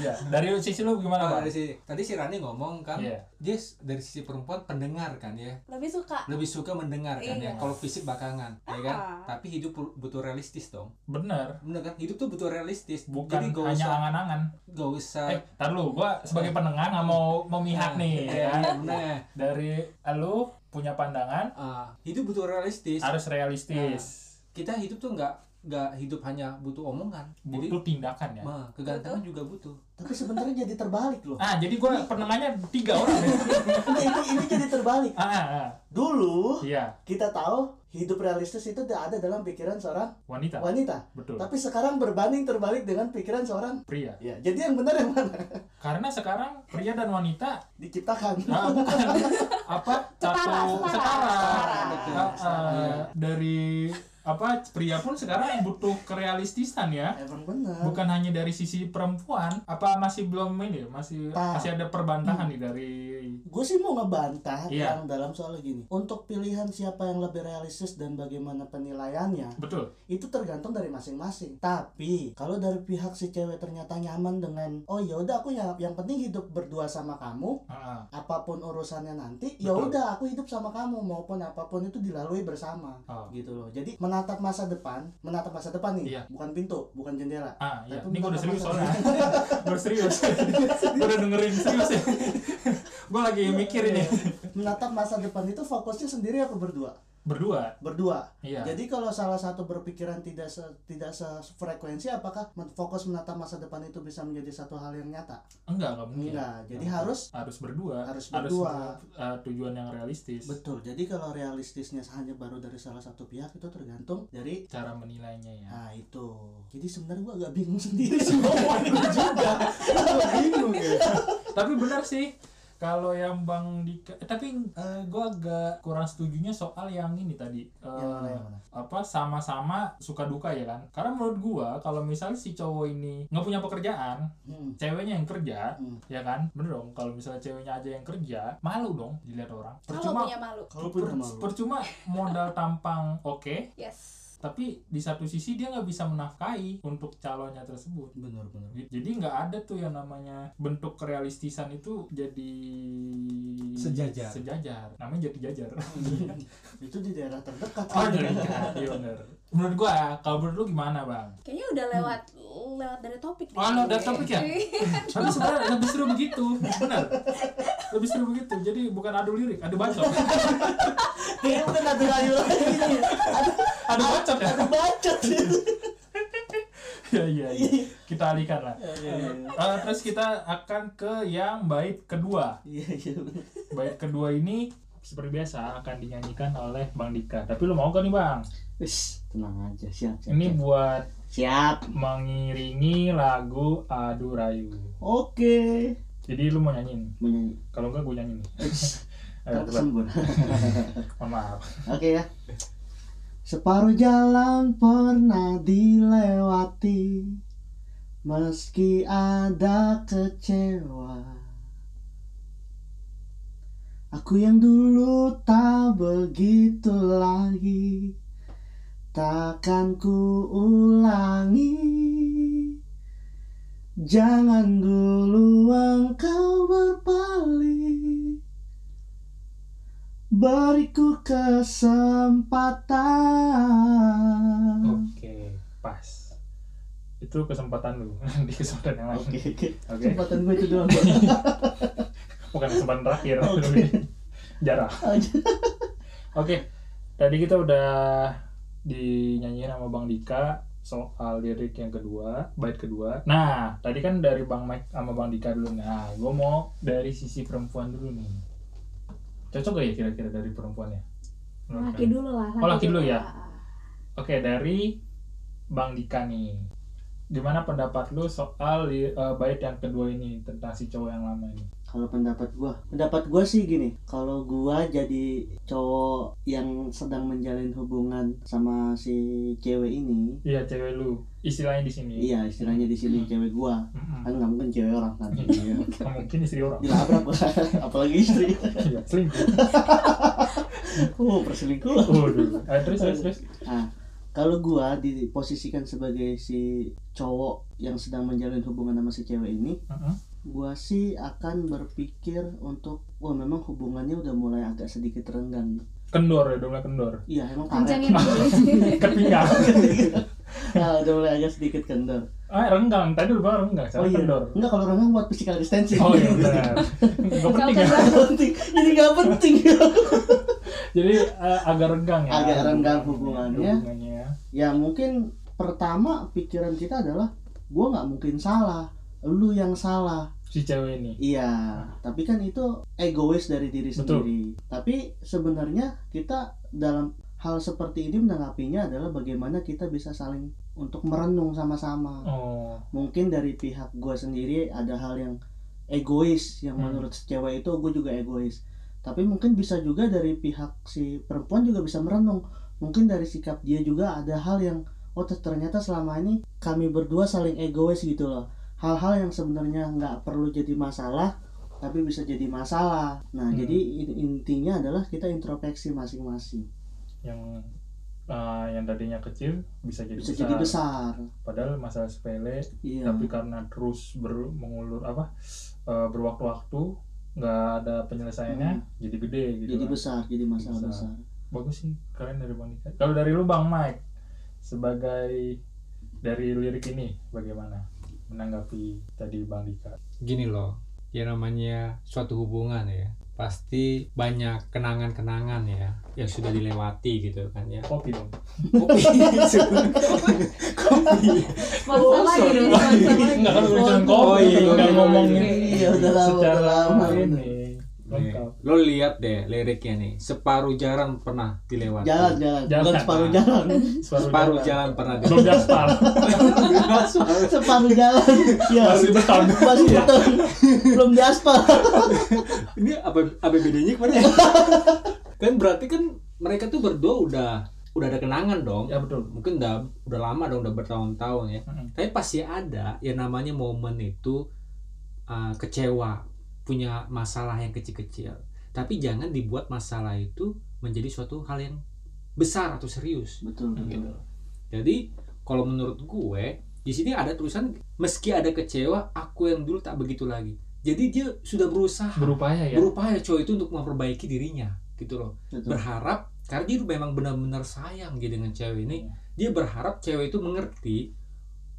Speaker 1: ya, dari sisi lu
Speaker 2: Oh,
Speaker 1: gimana, Pak?
Speaker 2: dari sisi- tadi si Rani ngomong kan
Speaker 1: Iya.
Speaker 2: dia s- dari sisi perempuan pendengar kan ya
Speaker 4: lebih suka
Speaker 2: lebih suka mendengar kan ya
Speaker 4: Iya.
Speaker 2: kalau fisik bakangan ya kan
Speaker 4: Ah.
Speaker 2: tapi hidup pu- butuh realistis dong
Speaker 1: Bener.
Speaker 2: bener kan hidup tuh butuh realistis
Speaker 1: Bukan
Speaker 2: jadi gak
Speaker 1: hanya
Speaker 2: usah
Speaker 1: angan-angan.
Speaker 2: gak usah
Speaker 1: Eh, tar lu, gua sebagai penengah nggak mau memihak nih
Speaker 2: Iya,
Speaker 1: ya.
Speaker 2: iya, bener.
Speaker 1: Dari lu punya pandangan
Speaker 2: Ah, hidup butuh realistis
Speaker 1: harus realistis.
Speaker 2: kita hidup tuh nggak nggak hidup hanya butuh omongan Nah, jadi
Speaker 1: Butuh tindakan ya.
Speaker 2: mah, kegantengan juga butuh
Speaker 3: Tapi sebenarnya jadi terbalik loh.
Speaker 1: Ah, jadi gua penengahnya tiga orang. ya.
Speaker 3: Ini, ini, ini jadi terbalik.
Speaker 1: ah, ah, ah.
Speaker 3: Dulu
Speaker 1: iya,
Speaker 3: kita tahu hidup realistis itu tidak ada dalam pikiran seorang
Speaker 2: Iya.
Speaker 1: wanita.
Speaker 3: wanita.
Speaker 1: Betul.
Speaker 3: Tapi sekarang berbanding terbalik dengan pikiran seorang
Speaker 1: Pria.
Speaker 3: Ya, jadi yang benar yang mana?
Speaker 1: Karena sekarang pria dan wanita
Speaker 3: Diciptakan.
Speaker 1: ah, bukan apa
Speaker 4: Setara,
Speaker 1: satu
Speaker 4: setara.
Speaker 1: setara.
Speaker 2: Betul,
Speaker 1: Ah,
Speaker 2: setara,
Speaker 1: ah,
Speaker 2: iya.
Speaker 1: dari apa pria pun sekarang butuh kerealistisan ya.
Speaker 3: Emang
Speaker 2: Ah.
Speaker 3: benar.
Speaker 1: Bukan hanya dari sisi perempuan, apa masih belum ini, masih
Speaker 2: Nah.
Speaker 3: Tak.
Speaker 1: masih ada perbantahan
Speaker 2: Hmm.
Speaker 1: nih dari
Speaker 3: Gue sih mau ngebantah
Speaker 1: Iya.
Speaker 3: yang dalam soal gini. Untuk pilihan siapa yang lebih realistis dan bagaimana penilaiannya,
Speaker 1: betul.
Speaker 3: itu tergantung dari masing-masing. Tapi kalau dari pihak si cewek ternyata nyaman dengan oh ya udah aku ya yang penting hidup berdua sama kamu,
Speaker 1: Ah, ah.
Speaker 3: apapun urusannya nanti, ya
Speaker 1: Betul.
Speaker 3: udah aku hidup sama kamu maupun apapun itu dilalui bersama.
Speaker 1: Oh.
Speaker 3: Gitu loh. Jadi menatap masa depan, menatap masa depan nih,
Speaker 1: Iya.
Speaker 3: bukan pintu, bukan jendela.
Speaker 1: Ah, iya.
Speaker 3: Tapi
Speaker 1: Ini gue udah serius
Speaker 3: Nah, bukan
Speaker 1: soalnya. gue serius. gue udah dengerin serius ya. gue lagi
Speaker 3: Iya,
Speaker 1: mikir ini.
Speaker 3: Menatap masa depan itu fokusnya sendiri apa berdua?
Speaker 1: Berdua.
Speaker 3: berdua.
Speaker 1: Iya.
Speaker 3: Jadi kalau salah satu berpikiran tidak se, tidak sefrekuensi, apakah men- fokus menata masa depan itu bisa menjadi satu hal yang nyata?
Speaker 1: Enggak, enggak mungkin.
Speaker 3: Enggak. Jadi
Speaker 1: Enggak.
Speaker 3: harus
Speaker 1: harus berdua.
Speaker 3: Harus berdua.
Speaker 1: eh, tujuan yang realistis.
Speaker 3: betul. Jadi kalau realistisnya hanya baru dari salah satu pihak itu tergantung dari
Speaker 1: Cara menilainya ya.
Speaker 3: Nah itu Jadi sebenarnya gua agak bingung sendiri sih Gua mau ini juga Gua bingung ya
Speaker 1: tapi benar sih kalau yang Bang Dika eh, tapi eh, gua agak kurang setujunya soal yang ini tadi Eh,
Speaker 3: Yang mana, yang mana?
Speaker 1: apa sama-sama suka duka ya kan karena menurut gua kalau misalnya si cowok ini nggak punya pekerjaan
Speaker 3: Hmm.
Speaker 1: ceweknya yang kerja
Speaker 3: Hmm.
Speaker 1: ya kan bener dong kalau misalnya ceweknya aja yang kerja malu dong dilihat orang
Speaker 4: kalau
Speaker 1: percuma
Speaker 4: punya malu
Speaker 3: Kalau
Speaker 1: per-
Speaker 3: punya malu
Speaker 1: percuma modal tampang oke
Speaker 4: yes
Speaker 1: tapi di satu sisi dia nggak bisa menafkahi untuk calonnya tersebut
Speaker 3: Bener bener
Speaker 1: jadi nggak ada tuh yang namanya bentuk realistisan itu jadi
Speaker 2: Sejajar.
Speaker 1: Sejajar. Namanya jadi jajar.
Speaker 3: Itu di daerah terdekat
Speaker 1: oh, jadi jajar. Iya bener. Menurut gua, kalau menurut lu gimana, Bang?
Speaker 4: kayaknya udah lewat lewat dari topik
Speaker 1: Oh,
Speaker 4: nih.
Speaker 1: lewat dari topik ya? Tapi sebenarnya lebih seru begitu. Benar. Lebih seru begitu. Jadi bukan adu lirik, adu bacot.
Speaker 3: Kayaknya bukan ada rayu lagi nih. Ada-
Speaker 1: adu bacot ya.
Speaker 3: Ada bacot
Speaker 1: Iya, iya, iya. Kita alihkan lah.
Speaker 3: Iya, iya, iya.
Speaker 1: Eh, terus kita akan ke yang bait kedua.
Speaker 3: Iya iya bener.
Speaker 1: Bait kedua ini seperti biasa akan dinyanyikan oleh Bang Dika. Tapi lu mau gak nih, Bang?
Speaker 3: Wis, tenang aja siap siap
Speaker 1: Ini
Speaker 3: siap.
Speaker 1: buat
Speaker 3: Siap.
Speaker 1: mengiringi lagu Adu Rayu.
Speaker 3: Oke.
Speaker 1: Jadi lu mau nyanyiin?
Speaker 3: Menyanyi.
Speaker 1: Kalau enggak gue nyanyiin. Ayo,
Speaker 3: Kan
Speaker 1: coba.
Speaker 3: kesembur.
Speaker 1: Mohon maaf.
Speaker 3: Oke ya. Separuh jalan pernah dilewati Meski ada kecewa Aku yang dulu tak begitu lagi Takkan ku ulangi Jangan dulu engkau berpaling Beriku kesempatan.
Speaker 1: Oke, pas. Itu kesempatan lu di kesempatan yang lain.
Speaker 3: Oke, oke.
Speaker 1: Oke.
Speaker 3: Kesempatan gue itu doang.
Speaker 1: Bukan kesempatan terakhir.
Speaker 3: Oke.
Speaker 1: Jarah.
Speaker 3: Aja.
Speaker 1: Oke. Tadi kita udah dinyanyiin sama Bang Dika soal lirik yang kedua, bait kedua. Nah, tadi kan dari Bang Mike sama Bang Dika dulu. Nah, gue mau dari sisi perempuan dulu nih. Cocok gak ya kira-kira dari perempuannya? Menurut
Speaker 4: laki
Speaker 1: kalian?
Speaker 4: dulu lah
Speaker 1: Oh, laki dulu ya? Oke, dari Bang Dika nih. e, Gimana pendapat lu soal li- eh, bait yang kedua ini tentang si cowok yang lama ini?
Speaker 3: kalau pendapat gua pendapat gua sih gini kalau gua jadi cowok yang sedang menjalin hubungan sama si cewek ini
Speaker 1: Iya cewek lu. Istilahnya di sini.
Speaker 3: iya istilahnya di sini cewek gua
Speaker 1: Mm-mm.
Speaker 3: kan nggak mungkin cewek orang kan
Speaker 1: Iya. Nggak mungkin istri orang.
Speaker 3: dilabrak lah apalagi istri
Speaker 1: Iya, selingkuh.
Speaker 3: oh perselingkuhan
Speaker 1: Waduh. Eh, terus terus terus.
Speaker 3: Nah, kalau gua diposisikan sebagai si cowok yang sedang menjalin hubungan sama si cewek ini,
Speaker 1: Mm-mm.
Speaker 3: gua sih akan berpikir untuk wah memang hubungannya udah mulai agak sedikit renggang. nih."
Speaker 1: Kendor ya, udah mulai kendor.
Speaker 3: Iya, emang karet.
Speaker 4: kencangin dulu
Speaker 1: Kepinggang.
Speaker 3: nah, udah mulai agak sedikit kendor. Oh iya.
Speaker 1: Ah, renggang. Tadi lu bilang renggang, sekarang kendor.
Speaker 3: Enggak kalau renggang buat physical distancing.
Speaker 1: Oh iya benar. Gak penting ya.
Speaker 3: Nggak penting. Ini nggak penting.
Speaker 1: Jadi eh, agak renggang ya.
Speaker 3: Agak renggang hubungannya.
Speaker 1: Hubungannya.
Speaker 3: ya mungkin pertama pikiran kita adalah gua nggak mungkin salah. Lu yang salah.
Speaker 1: Si cewek ini.
Speaker 3: Iya, tapi kan itu egois dari diri
Speaker 1: Betul.
Speaker 3: sendiri. Tapi sebenarnya kita dalam hal seperti ini menanggapinya adalah bagaimana kita bisa saling untuk merenung sama-sama.
Speaker 1: Oh.
Speaker 3: Mungkin dari pihak gue sendiri ada hal yang egois yang
Speaker 1: Hmm.
Speaker 3: menurut cewek itu gue juga egois. Tapi mungkin bisa juga dari pihak si perempuan juga bisa merenung. Mungkin dari sikap dia juga ada hal yang oh ter- ternyata selama ini kami berdua saling egois gitu loh hal-hal yang sebenarnya nggak perlu jadi masalah tapi bisa jadi masalah
Speaker 1: Hmm.
Speaker 3: nah jadi in- intinya adalah kita introspeksi masing-masing
Speaker 1: yang eh, yang tadinya kecil bisa jadi
Speaker 3: bisa
Speaker 1: besar.
Speaker 3: jadi besar
Speaker 1: Padahal masalah sepele,
Speaker 3: iya
Speaker 1: tapi karena terus ber- mengulur apa eh, berwaktu-waktu nggak ada penyelesaiannya, jadi gede gitu.
Speaker 3: Hmm. jadi
Speaker 1: kan.
Speaker 3: besar jadi masalah
Speaker 1: Besar.
Speaker 3: besar,
Speaker 1: Bagus sih kalian dari Bang Dika. Kalau dari lu Bang Mike sebagai dari lirik ini bagaimana menanggapi tadi Bang Dika?
Speaker 2: gini loh ya namanya suatu hubungan ya pasti banyak kenangan-kenangan ya yang sudah dilewati gitu kan ya
Speaker 1: Kopi dong.
Speaker 2: kopi kopi
Speaker 4: Sponsor lagi dong, sponsor lagi.
Speaker 1: Enggak kan udah
Speaker 3: urusan
Speaker 1: kopi,
Speaker 2: kopi,
Speaker 1: enggak
Speaker 2: iya,
Speaker 1: ngomongin
Speaker 3: iya, udah lama,
Speaker 1: secara
Speaker 3: udah lama.
Speaker 1: ini.
Speaker 2: Nih,
Speaker 1: Lengkap.
Speaker 2: lo lihat deh liriknya nih separuh jalan pernah dilewati
Speaker 3: jalan jalan
Speaker 1: Jalan.
Speaker 3: bukan separuh jalan
Speaker 2: separuh jalan pernah
Speaker 1: Belum gaspal.
Speaker 2: dilewati
Speaker 3: separuh jalan ya
Speaker 1: Masih beton.
Speaker 3: masih beton belum di aspal
Speaker 2: ini apa APBD-nya kemana ya? kan berarti kan mereka tuh berdua udah udah ada kenangan dong
Speaker 1: Ya betul.
Speaker 2: mungkin udah udah lama dong udah bertahun-tahun ya
Speaker 1: Mm-mm.
Speaker 2: tapi pasti ada yang namanya momen itu uh, kecewa punya masalah yang kecil-kecil tapi jangan dibuat masalah itu menjadi suatu hal yang besar atau serius
Speaker 3: betul
Speaker 1: Hmm.
Speaker 3: betul
Speaker 2: gitu jadi kalau menurut gue di sini ada tulisan meski ada kecewa aku yang dulu tak begitu lagi jadi dia sudah berusaha
Speaker 1: Berupaya ya.
Speaker 2: berupaya cowok itu untuk memperbaiki dirinya gitu loh
Speaker 3: betul
Speaker 2: berharap karena dia memang benar-benar sayang dia dengan cewek ini dia berharap cewek itu mengerti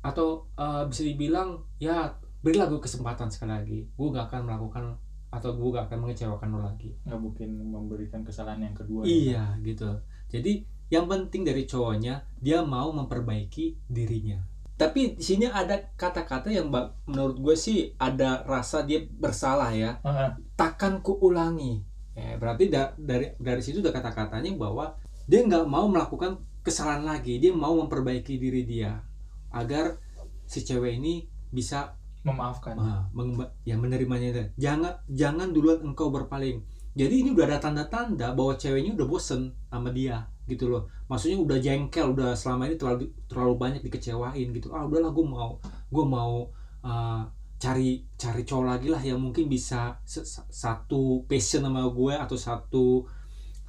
Speaker 2: atau eh, bisa dibilang ya berilah gue kesempatan sekali lagi gue gak akan melakukan atau gue gak akan mengecewakan lo lagi
Speaker 1: nggak mungkin memberikan kesalahan yang kedua ya.
Speaker 2: iya gitu jadi yang penting dari cowoknya dia mau memperbaiki dirinya tapi di sini ada kata-kata yang ba- menurut gue sih ada rasa dia bersalah ya
Speaker 1: Ah, ah.
Speaker 2: takkan kuulangi. Ya, berarti da- dari dari situ udah kata-katanya bahwa dia nggak mau melakukan kesalahan lagi, dia mau memperbaiki diri dia agar si cewek ini bisa
Speaker 1: memaafkan
Speaker 2: ah, mengemba- ya menerimanya. itu. Jangan jangan duluan engkau berpaling. Jadi ini udah ada tanda-tanda bahwa ceweknya udah bosen sama dia gitu loh. Maksudnya udah jengkel, udah selama ini terlalu terlalu banyak dikecewain gitu. Ah udahlah gue mau gue mau uh, cari cari cowok lagi lah yang mungkin bisa se- sa- satu passion sama gue atau satu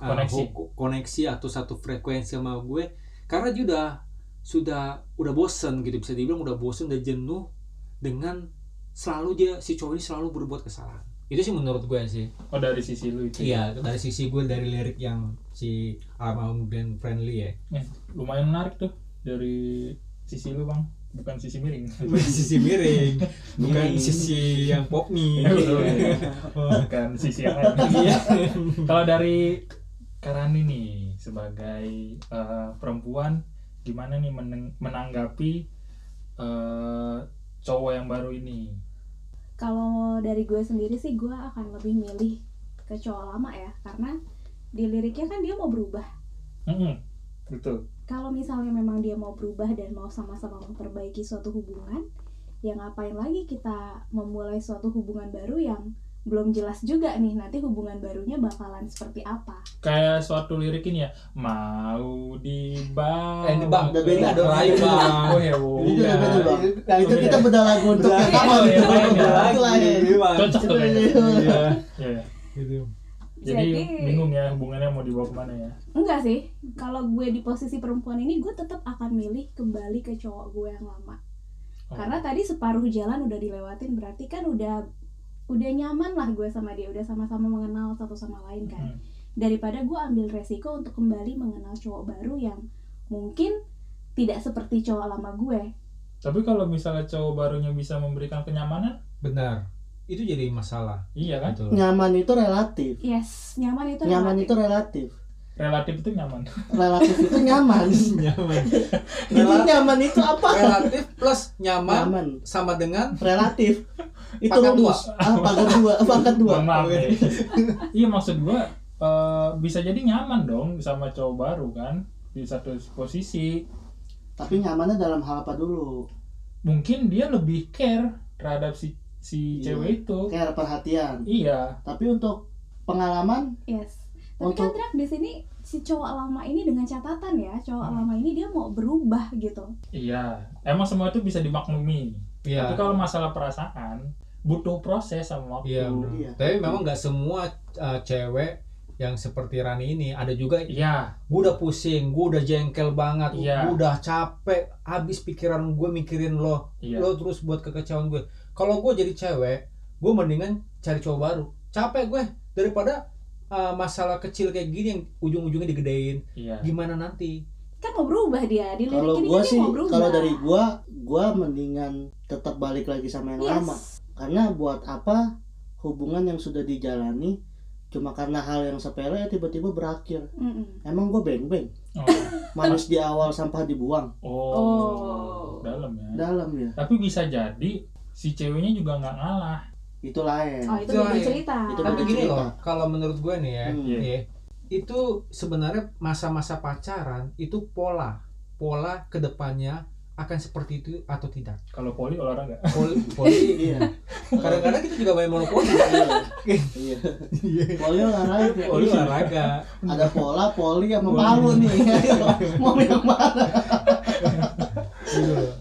Speaker 2: uh,
Speaker 1: Koneksi.
Speaker 2: ho- koneksi atau satu frekuensi sama gue karena dia udah sudah udah bosen gitu bisa dibilang udah bosen udah jenuh dengan selalu dia si cowok ini selalu berbuat kesalahan itu sih menurut gue sih
Speaker 1: oh dari sisi lu itu ya.
Speaker 2: iya dari sisi gue dari lirik yang si almarhum Glenn Friendly ya
Speaker 1: lumayan menarik tuh dari sisi lu bang bukan sisi miring
Speaker 2: bukan sisi miring bukan
Speaker 1: Miring.
Speaker 2: sisi yang pop mie
Speaker 1: bukan sisi yang lain
Speaker 2: Iya.
Speaker 1: kalau dari Karani nih sebagai eh, perempuan gimana nih meneng- menanggapi eh, cowok yang baru ini
Speaker 4: kalau dari gue sendiri sih gue akan lebih milih ke cowok lama ya karena di liriknya kan dia mau berubah
Speaker 1: Mm-mm. betul
Speaker 4: kalau misalnya memang dia mau berubah dan mau sama-sama memperbaiki suatu hubungan ya ngapain lagi kita memulai suatu hubungan baru yang belum jelas juga nih nanti hubungan barunya bakalan seperti apa.
Speaker 1: Kayak suatu lirik ini ya, mau dibawa.
Speaker 2: Eh, ini bang,
Speaker 3: Udah beda
Speaker 2: dong. Lain bang.
Speaker 1: Oh ya,
Speaker 3: Itu udah beda
Speaker 1: udah.
Speaker 3: bang. Nah itu kita beda lagu untuk
Speaker 2: Udah,
Speaker 3: pertama
Speaker 1: iya,
Speaker 3: gitu.
Speaker 1: iya, iya.
Speaker 3: Itu lain.
Speaker 1: Cocok tuh kayaknya.
Speaker 3: Iya.
Speaker 1: Iya, iya.
Speaker 2: Gitu.
Speaker 1: Jadi bingung ya hubungannya mau dibawa kemana ya.
Speaker 4: Enggak sih, kalau gue di posisi perempuan ini gue tetap akan milih kembali ke cowok gue yang lama.
Speaker 1: Oh.
Speaker 4: Karena tadi separuh jalan udah dilewatin berarti kan udah udah nyaman lah gue sama dia, udah sama-sama mengenal satu sama lain kan.
Speaker 1: Hmm.
Speaker 4: Daripada gue ambil resiko untuk kembali mengenal cowok baru yang mungkin tidak seperti cowok lama gue.
Speaker 1: Tapi kalau misalnya cowok barunya bisa memberikan kenyamanan,
Speaker 2: Benar. Itu jadi masalah. Gitu
Speaker 1: iya kan?
Speaker 2: Betul.
Speaker 3: Nyaman itu relatif.
Speaker 4: Yes, nyaman itu
Speaker 3: Nyaman
Speaker 4: relatif.
Speaker 3: itu relatif.
Speaker 1: Relatif itu nyaman.
Speaker 3: Relatif itu nyaman.
Speaker 2: Nyaman.
Speaker 3: Jadi nyaman itu apa?
Speaker 2: Relatif plus nyaman
Speaker 3: Nyaman.
Speaker 2: sama dengan
Speaker 3: Relatif. Itu
Speaker 2: Pangkat
Speaker 3: rumus. Ah, pangkat dua, pangkat dua.
Speaker 1: Mohon maaf ya. iya maksud gua eh, bisa jadi nyaman dong sama cowok baru kan di satu posisi.
Speaker 3: Tapi nyamannya dalam hal apa dulu?
Speaker 1: Mungkin dia lebih care terhadap si si
Speaker 3: Iya.
Speaker 1: cewek itu.
Speaker 3: Care perhatian.
Speaker 1: Iya.
Speaker 3: Tapi untuk pengalaman
Speaker 4: Yes. Tapi kan
Speaker 3: Untuk-
Speaker 4: Drak di sini si cowok lama ini dengan catatan ya, cowok
Speaker 1: Hmm.
Speaker 4: lama ini dia mau berubah gitu.
Speaker 1: Iya. Emang semua itu bisa dimaklumi. Tapi kalau masalah perasaan butuh proses sama
Speaker 2: Iya.
Speaker 1: waktu.
Speaker 2: benar.
Speaker 3: Iya.
Speaker 2: Tapi memang nggak semua uh, cewek yang seperti Rani ini ada juga
Speaker 1: Iya.
Speaker 2: gue udah pusing, gue udah jengkel banget,
Speaker 1: Iya.
Speaker 2: gue udah capek, habis pikiran gue mikirin lo,
Speaker 1: Iya.
Speaker 2: lo terus buat kekecewaan gue. Kalau gue jadi cewek, gue mendingan cari cowok baru. Capek gue daripada uh, masalah kecil kayak gini yang ujung-ujungnya digedein.
Speaker 1: Iya.
Speaker 2: Gimana nanti?
Speaker 4: Kan mau berubah dia, di
Speaker 3: kalau
Speaker 4: lirik ini
Speaker 3: gua
Speaker 4: kan dia
Speaker 3: sih
Speaker 4: mau berubah.
Speaker 3: kalau dari gua gua mendingan tetap balik lagi sama yang
Speaker 4: Yes.
Speaker 3: lama karena buat apa hubungan yang sudah dijalani cuma karena hal yang sepele tiba-tiba berakhir
Speaker 4: Mm-mm.
Speaker 3: emang gua beng beng
Speaker 1: Oh.
Speaker 3: manis di awal sampah dibuang
Speaker 1: Oh.
Speaker 4: Oh.
Speaker 1: Dalam ya.
Speaker 3: dalam ya
Speaker 1: Tapi bisa jadi si ceweknya juga nggak ngalah.
Speaker 3: itu lain
Speaker 4: Oh, itu
Speaker 2: Itu
Speaker 4: beda
Speaker 2: lain.
Speaker 4: cerita.
Speaker 3: Itu
Speaker 2: Tapi
Speaker 3: beda
Speaker 2: gini
Speaker 3: cerita.
Speaker 2: loh, kalau menurut gue nih ya,
Speaker 3: Hmm.
Speaker 1: Iya.
Speaker 2: ya, itu sebenarnya masa-masa pacaran itu pola, pola kedepannya akan seperti itu atau tidak.
Speaker 1: Kalau poli olahraga.
Speaker 2: Poli, poli-
Speaker 3: iya
Speaker 2: kadang-kadang kita juga main monopoli.
Speaker 3: Iya. iya poli olahraga
Speaker 2: Poli Oh, olahraga.
Speaker 3: ya? Iya. ada pola poli sama palu nih mau yang mana
Speaker 2: gitu loh.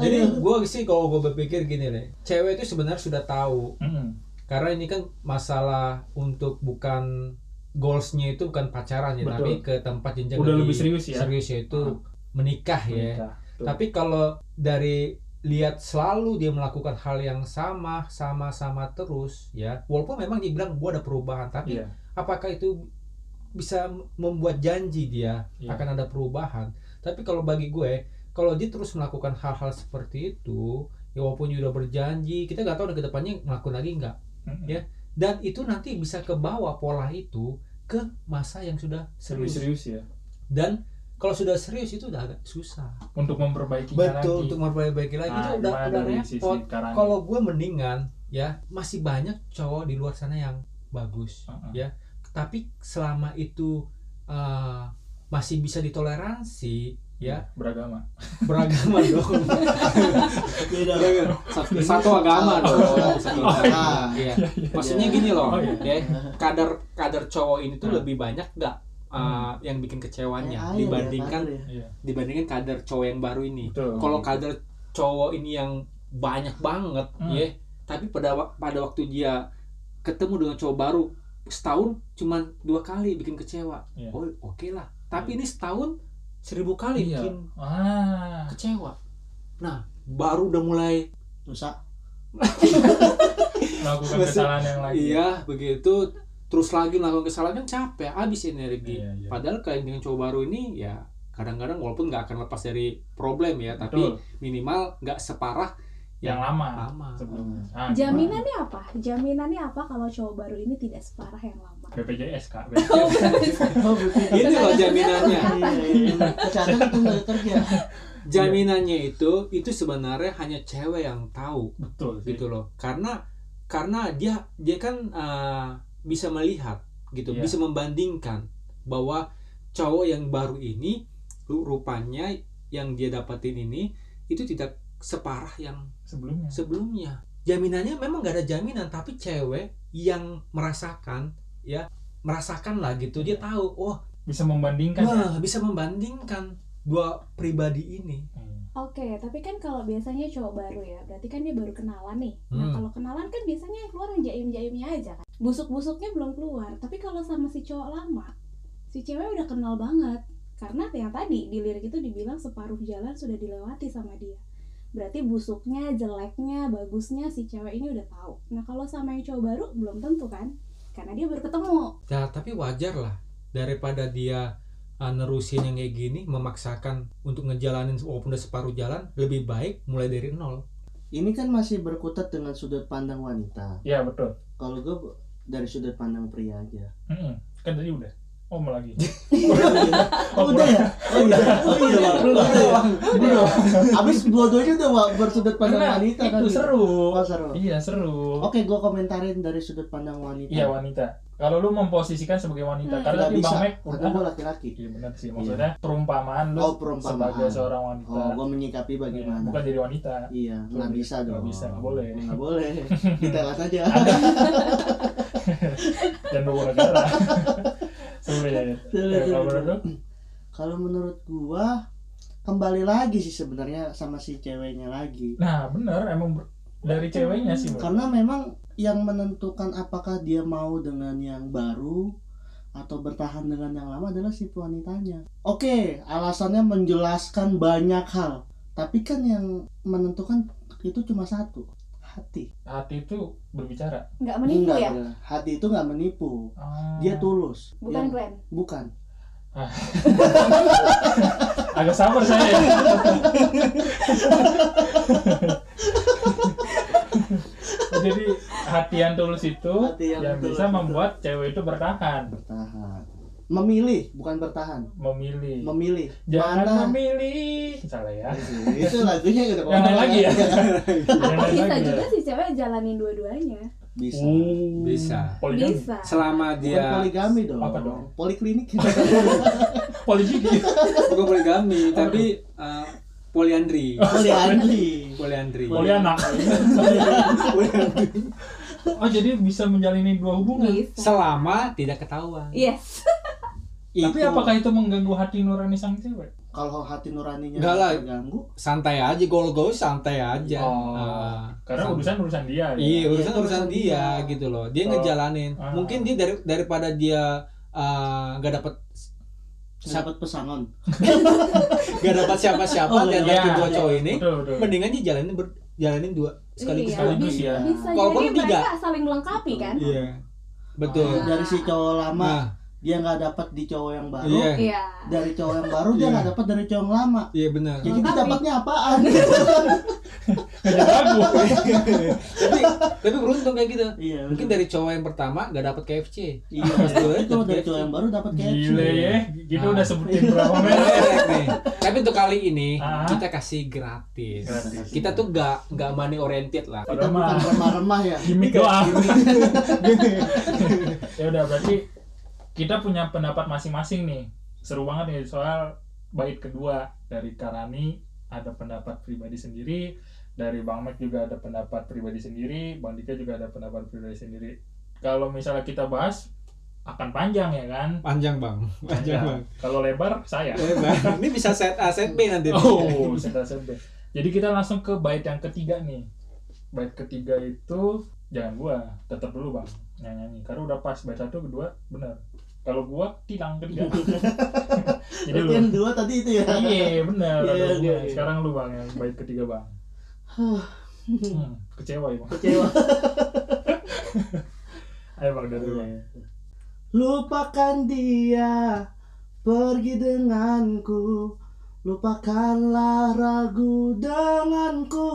Speaker 2: Jadi gue sih kalau gue berpikir gini nih, cewek itu sebenarnya sudah tahu
Speaker 1: Mm-mm.
Speaker 2: karena ini kan masalah untuk bukan goalsnya itu bukan pacaran ya,
Speaker 1: Betul.
Speaker 2: tapi ke tempat jenjang
Speaker 1: Udah lebih serius ya.
Speaker 2: Serius yaitu
Speaker 1: Ah. iya.
Speaker 2: menikah ya.
Speaker 1: Menikah. Betul.
Speaker 2: Tapi kalau dari lihat selalu dia melakukan hal yang sama, sama-sama terus ya. Walaupun memang dibilang gua ada perubahan, tapi
Speaker 1: Iya.
Speaker 2: apakah itu bisa membuat janji dia
Speaker 1: Iya.
Speaker 2: akan ada perubahan tapi kalau bagi gue kalau dia terus melakukan hal-hal seperti itu ya walaupun dia udah berjanji kita nggak tahu ke depannya ngelakuin lagi nggak
Speaker 1: Mm-mm.
Speaker 2: Ya. dan itu nanti bisa ke bawah pola itu ke masa yang sudah
Speaker 1: Lebih serius
Speaker 2: serius
Speaker 1: ya.
Speaker 2: dan kalau sudah serius itu udah agak susah
Speaker 1: Untuk memperbaikinya lagi.
Speaker 2: betul untuk memperbaiki lagi
Speaker 1: Nah,
Speaker 2: itu udah
Speaker 1: gimana
Speaker 2: udah
Speaker 1: dari sisi
Speaker 2: repot
Speaker 1: Karani?
Speaker 2: kalau gue mendingan ya masih banyak cowok di luar sana yang bagus
Speaker 1: Uh-uh.
Speaker 2: ya tapi selama itu eh, masih bisa ditoleransi ya
Speaker 1: beragama.
Speaker 2: beragama dong
Speaker 3: beda
Speaker 2: satu agama dong Ah, Satu
Speaker 3: Oh, iya.
Speaker 2: agama. Iya. maksudnya gini
Speaker 1: Oh,
Speaker 2: loh
Speaker 1: iya.
Speaker 2: ya kadar kadar cowok ini tuh
Speaker 1: Hmm.
Speaker 2: lebih banyak nggak eh,
Speaker 1: Hmm.
Speaker 2: yang bikin
Speaker 3: Kayak
Speaker 2: kecewanya
Speaker 3: air ya,
Speaker 2: dibandingkan
Speaker 3: air ya.
Speaker 1: Iya.
Speaker 2: dibandingkan kadar cowok yang baru ini
Speaker 1: Betul.
Speaker 2: kalau kadar cowok ini yang banyak banget
Speaker 1: Hmm.
Speaker 2: ya tapi pada wak- pada waktu dia ketemu dengan cowok baru setahun cuman dua kali bikin kecewa
Speaker 1: Iya.
Speaker 2: oh oke lah tapi ini setahun seribu kali
Speaker 1: Iya.
Speaker 2: bikin
Speaker 1: Ah.
Speaker 2: kecewa nah baru udah mulai
Speaker 3: rusak
Speaker 1: Melakukan
Speaker 2: Maksud-
Speaker 1: kesalahan yang lagi.
Speaker 2: iya begitu terus lagi melakukan kesalahan kan capek habis energi
Speaker 1: Iya, iya.
Speaker 2: padahal kayak dengan cowok baru ini ya kadang-kadang walaupun nggak akan lepas dari problem ya tapi
Speaker 1: Betul.
Speaker 2: minimal nggak separah
Speaker 1: Yang
Speaker 2: yang
Speaker 1: lama.
Speaker 2: lama
Speaker 1: Sebelumnya. Ah,
Speaker 4: Jaminannya apa? Jaminannya apa kalau cowok baru ini tidak separah yang lama?
Speaker 1: BPJS kak.
Speaker 3: Oh, begitu.
Speaker 2: ini loh jaminannya
Speaker 3: Iya, iya, iya. Catat itu nggak kerja.
Speaker 2: jaminannya itu itu sebenarnya hanya cewek yang tahu
Speaker 1: Betul sih.
Speaker 2: gitu loh karena karena dia dia kan eh, bisa melihat gitu
Speaker 1: Iya.
Speaker 2: bisa membandingkan bahwa cowok yang baru ini ru- rupanya yang dia dapetin ini itu tidak separah yang
Speaker 1: Sebelumnya.
Speaker 2: sebelumnya jaminannya memang gak ada jaminan tapi cewek yang merasakan ya merasakan lah gitu dia tahu oh
Speaker 1: bisa membandingkan ya?
Speaker 2: wah bisa membandingkan dua pribadi ini
Speaker 1: Hmm.
Speaker 4: Oke, tapi kan kalau biasanya cowok baru ya, berarti kan dia baru kenalan nih. Nah,
Speaker 2: Hmm.
Speaker 4: kalau kenalan kan biasanya yang keluar yang jaim-jaimnya aja kan. Busuk-busuknya belum keluar, tapi kalau sama si cowok lama, si cewek udah kenal banget. Karena yang tadi di lirik itu dibilang separuh jalan sudah dilewati sama dia. Berarti busuknya, jeleknya, bagusnya si cewek ini udah tahu. Nah, kalau sama yang cowok baru belum tentu kan? Karena dia baru ketemu.
Speaker 2: ya tapi wajar lah daripada dia ah, nerusin yang kayak gini memaksakan untuk ngejalanin walaupun udah separuh jalan lebih baik mulai dari nol
Speaker 3: Ini kan masih berkutat dengan sudut pandang wanita.
Speaker 1: Iya betul.
Speaker 3: Kalau gue dari sudut pandang pria aja.
Speaker 1: Mm-mm. Kan tadi udah. Oh mau lagi.
Speaker 3: Oh, udah ya? Oh iya. Oh iya. Udah ya? Udah. Abis dua-duanya udah wa- bersudut pandang
Speaker 1: Karena
Speaker 3: wanita Oh. kan.
Speaker 1: itu seru.
Speaker 3: Oh, seru.
Speaker 1: Iya seru.
Speaker 3: Oke, gue komentarin dari sudut pandang wanita.
Speaker 1: Iya wanita. Kalau lu memposisikan sebagai wanita,
Speaker 4: Hmm.
Speaker 1: karena
Speaker 3: Nggak
Speaker 1: tadi
Speaker 3: bisa.
Speaker 1: Bang Mek
Speaker 3: Karena
Speaker 1: udah.
Speaker 3: gue laki-laki.
Speaker 1: Iya benar sih. Maksudnya perumpamaan lu
Speaker 3: Oh, perumpamaan.
Speaker 1: sebagai seorang wanita.
Speaker 3: Oh, gue menyikapi
Speaker 1: Iya,
Speaker 3: bagaimana?
Speaker 1: bukan jadi wanita.
Speaker 3: Iya, nggak bisa
Speaker 1: Nggak
Speaker 3: dong.
Speaker 1: bisa, nggak boleh.
Speaker 3: Nggak boleh. Ditelat aja.
Speaker 1: Dan bawa negara. Sulit.
Speaker 3: Iya,
Speaker 1: Ya, kalau menurut lu?
Speaker 3: Kalau menurut gua kembali lagi sih sebenarnya sama si ceweknya lagi.
Speaker 1: Nah benar emang ber- dari ceweknya sih. Bro.
Speaker 3: Karena memang yang menentukan apakah dia mau dengan yang baru atau bertahan dengan yang lama adalah si wanitanya. Oke, alasannya menjelaskan banyak hal, tapi kan yang menentukan itu cuma satu, hati.
Speaker 1: Hati itu berbicara.
Speaker 4: Nggak menipu
Speaker 3: Nggak
Speaker 4: ya?
Speaker 3: bener. Hati itu nggak menipu.
Speaker 1: Ah,
Speaker 3: Dia tulus.
Speaker 4: Bukan
Speaker 3: Yang-
Speaker 4: Glenn.
Speaker 3: bukan.
Speaker 1: agak sabar saya. ya. Jadi hati yang tulus itu
Speaker 3: Hati yang
Speaker 1: yang,
Speaker 3: tulus
Speaker 1: bisa
Speaker 3: itu.
Speaker 1: membuat cewek itu bertahan,
Speaker 3: Bertahan. Memilih, bukan bertahan.
Speaker 1: memilih.
Speaker 3: Memilih.
Speaker 1: Jangan
Speaker 3: Mana
Speaker 1: memilih. Salah ya.
Speaker 3: itu lagunya gitu, udah
Speaker 1: Yang lain lagi ya? Jangan
Speaker 4: Atau bisa
Speaker 1: lagi ya.
Speaker 4: juga si cewek jalanin dua-duanya.
Speaker 3: bisa Oh.
Speaker 1: Uh,
Speaker 2: Bisa.
Speaker 1: Poligami.
Speaker 4: Bisa.
Speaker 2: selama
Speaker 3: bukan poligami dong
Speaker 1: Apa dong?
Speaker 3: poliklinik
Speaker 1: Poligami.
Speaker 2: bukan poligami tapi eh, poliandri
Speaker 3: poliandri
Speaker 2: poliandri
Speaker 1: Polianak.
Speaker 2: Poliandri.
Speaker 1: Oh jadi bisa menjalani dua hubungan.
Speaker 4: Bisa.
Speaker 2: selama tidak ketahuan
Speaker 4: Yes.
Speaker 1: Tapi apakah itu mengganggu hati nurani sang cewek?
Speaker 3: kalau hati nuraninya
Speaker 2: Enggak lah.
Speaker 3: terganggu
Speaker 2: santai aja gol gol santai aja
Speaker 1: Oh,
Speaker 2: Ah,
Speaker 1: karena
Speaker 2: santai.
Speaker 1: urusan urusan dia. Ya?
Speaker 2: Iya,
Speaker 3: Iya,
Speaker 2: urusan
Speaker 3: itu
Speaker 2: urusan
Speaker 3: urusan
Speaker 2: dia
Speaker 3: dia.
Speaker 2: gitu loh. Dia
Speaker 1: Kalau-
Speaker 2: ngejalanin.
Speaker 1: Ah.
Speaker 2: Mungkin dia dari daripada dia eh, nggak dapat
Speaker 3: sahabat pesangon
Speaker 2: nggak dapat siapa-siapa
Speaker 3: Oh,
Speaker 2: dan
Speaker 3: iya,
Speaker 2: dari dua
Speaker 1: iya.
Speaker 2: cowok ini,
Speaker 1: Betul betul.
Speaker 2: mendingan dia jalanin ber, jalanin dua sekaligus
Speaker 4: Iya.
Speaker 2: dua.
Speaker 1: Sekaligus ya.
Speaker 4: Bisa
Speaker 2: Kalau
Speaker 4: jadi
Speaker 2: perlu tiga.
Speaker 4: mereka saling melengkapi kan?
Speaker 2: Iya. Betul.
Speaker 4: Ah.
Speaker 3: dari si cowok lama
Speaker 2: Nah,
Speaker 3: dia nggak dapat di cowok yang baru
Speaker 2: iya.
Speaker 4: Iya.
Speaker 3: dari cowok yang baru dia
Speaker 2: Iya.
Speaker 3: nggak dapat dari cowok yang lama
Speaker 2: Iya benar.
Speaker 3: jadi dia
Speaker 4: Lengkapi.
Speaker 3: dapatnya apaan
Speaker 1: Nggak jadi lagu.
Speaker 2: tapi tapi beruntung kayak gitu.
Speaker 3: iya
Speaker 2: Mungkin dari cowok yang pertama nggak dapat KFC.
Speaker 3: iya itu dari cowok yang baru dapat kayak
Speaker 1: Gile ya. Kita
Speaker 2: Ah.
Speaker 1: udah sebutin berapa merek.
Speaker 2: Merek Iya, nih. Tapi untuk kali ini
Speaker 1: Ah.
Speaker 2: kita kasih gratis.
Speaker 1: Gratis.
Speaker 2: Kita tuh nggak nggak money oriented lah.
Speaker 3: kita
Speaker 1: Padahal
Speaker 3: bukan
Speaker 1: mah
Speaker 3: remah-remah ya
Speaker 1: gimmick doang. ya udah berarti kita punya pendapat masing-masing nih. Seru banget nih soal bait kedua dari Karani ada pendapat pribadi sendiri, dari Bang Mac juga ada pendapat pribadi sendiri, Bang Dika juga ada pendapat pribadi sendiri. Kalau misalnya kita bahas akan panjang ya kan?
Speaker 2: Panjang bang. Panjang bang.
Speaker 1: Panjang. Kalau lebar saya.
Speaker 2: Eh, Bang, Ya. ini bisa set A set B nanti.
Speaker 1: Oh, sentra sentra. Jadi kita langsung ke bait yang ketiga nih. Bait ketiga itu jangan gua, tetap dulu bang nyanyi nyanyi. Karena udah pas bait satu kedua bener. Kalau gua tilang ketiga. Jadi
Speaker 3: Berarti
Speaker 1: lu.
Speaker 3: yang dua tadi itu ya
Speaker 1: Iya bener.
Speaker 3: Iya,
Speaker 1: ada gua.
Speaker 3: iya, iya.
Speaker 1: Sekarang lu bang yang bait ketiga bang.
Speaker 3: Hah,
Speaker 1: Hmm, kecewa ya bang.
Speaker 3: kecewa
Speaker 1: Ayo bang dari lu. Bang.
Speaker 3: Iya. Lupakan dia, pergi denganku. Lupakanlah ragu denganku.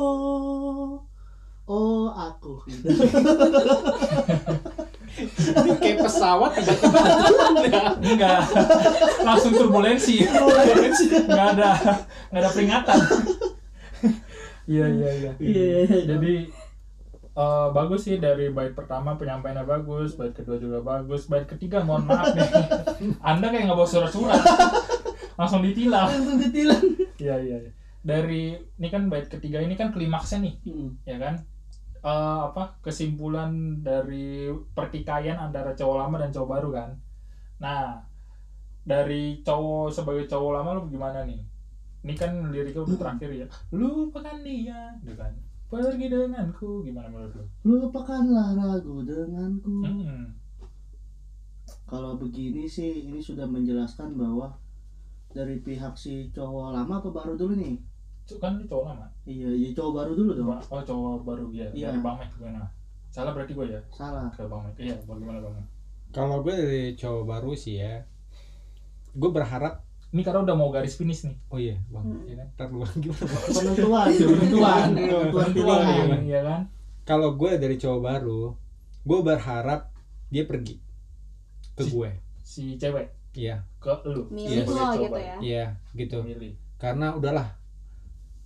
Speaker 3: Oh aku.
Speaker 2: Ini kayak pesawat tiba-tiba tunda.
Speaker 1: Enggak. Langsung turbulensi. Enggak ada enggak ada peringatan. Iya iya iya. Jadi eh, bagus sih dari bait pertama penyampaiannya bagus, bait kedua juga bagus, bait ketiga mohon maaf nih. Anda kayak nggak bawa surat-surat. Langsung ditilang.
Speaker 3: Langsung ditilang.
Speaker 1: Iya iya. iya. Dari ini kan bait ketiga ini kan klimaksnya nih,
Speaker 3: Hmm.
Speaker 1: ya kan? eh, apa kesimpulan dari pertikaian antara cowok lama dan cowok baru kan nah dari cowok sebagai cowok lama lu gimana nih ini kan liriknya udah terakhir ya lupakan dia gitu kan pergi denganku gimana menurut lu Hmm.
Speaker 3: Lupakanlah ragu denganku.
Speaker 1: Mm-mm.
Speaker 3: Kalau begini sih ini sudah menjelaskan bahwa dari pihak si cowok lama atau baru dulu nih?
Speaker 1: Cuk, kan lu cowok lama
Speaker 3: Iya, ya cowok baru dulu dong.
Speaker 1: Ba- oh cowok baru ya
Speaker 3: Iya.
Speaker 1: dari bang Mek gimana salah berarti gue ya
Speaker 3: Salah.
Speaker 1: ke bang Mek iya bagaimana bang Mek
Speaker 2: Kalau gue dari cowok baru sih ya, gue berharap
Speaker 1: ini karena udah mau garis finish nih
Speaker 2: oh iya bang,
Speaker 4: Hmm.
Speaker 2: ya kan? Ntar lu bang gimana?
Speaker 3: Penentuan, penentuan, penentuan pilihan.
Speaker 1: Iya, iya kan
Speaker 2: Kalau gue dari cowok baru, gue berharap dia pergi ke
Speaker 1: Si-
Speaker 2: gue.
Speaker 1: si cewek
Speaker 2: Iya,
Speaker 1: ke lu
Speaker 4: milik
Speaker 2: Yes.
Speaker 4: lo
Speaker 1: Sebagai
Speaker 4: gitu
Speaker 1: cowok.
Speaker 4: ya
Speaker 2: iya gitu.
Speaker 1: milih
Speaker 2: Karena udahlah,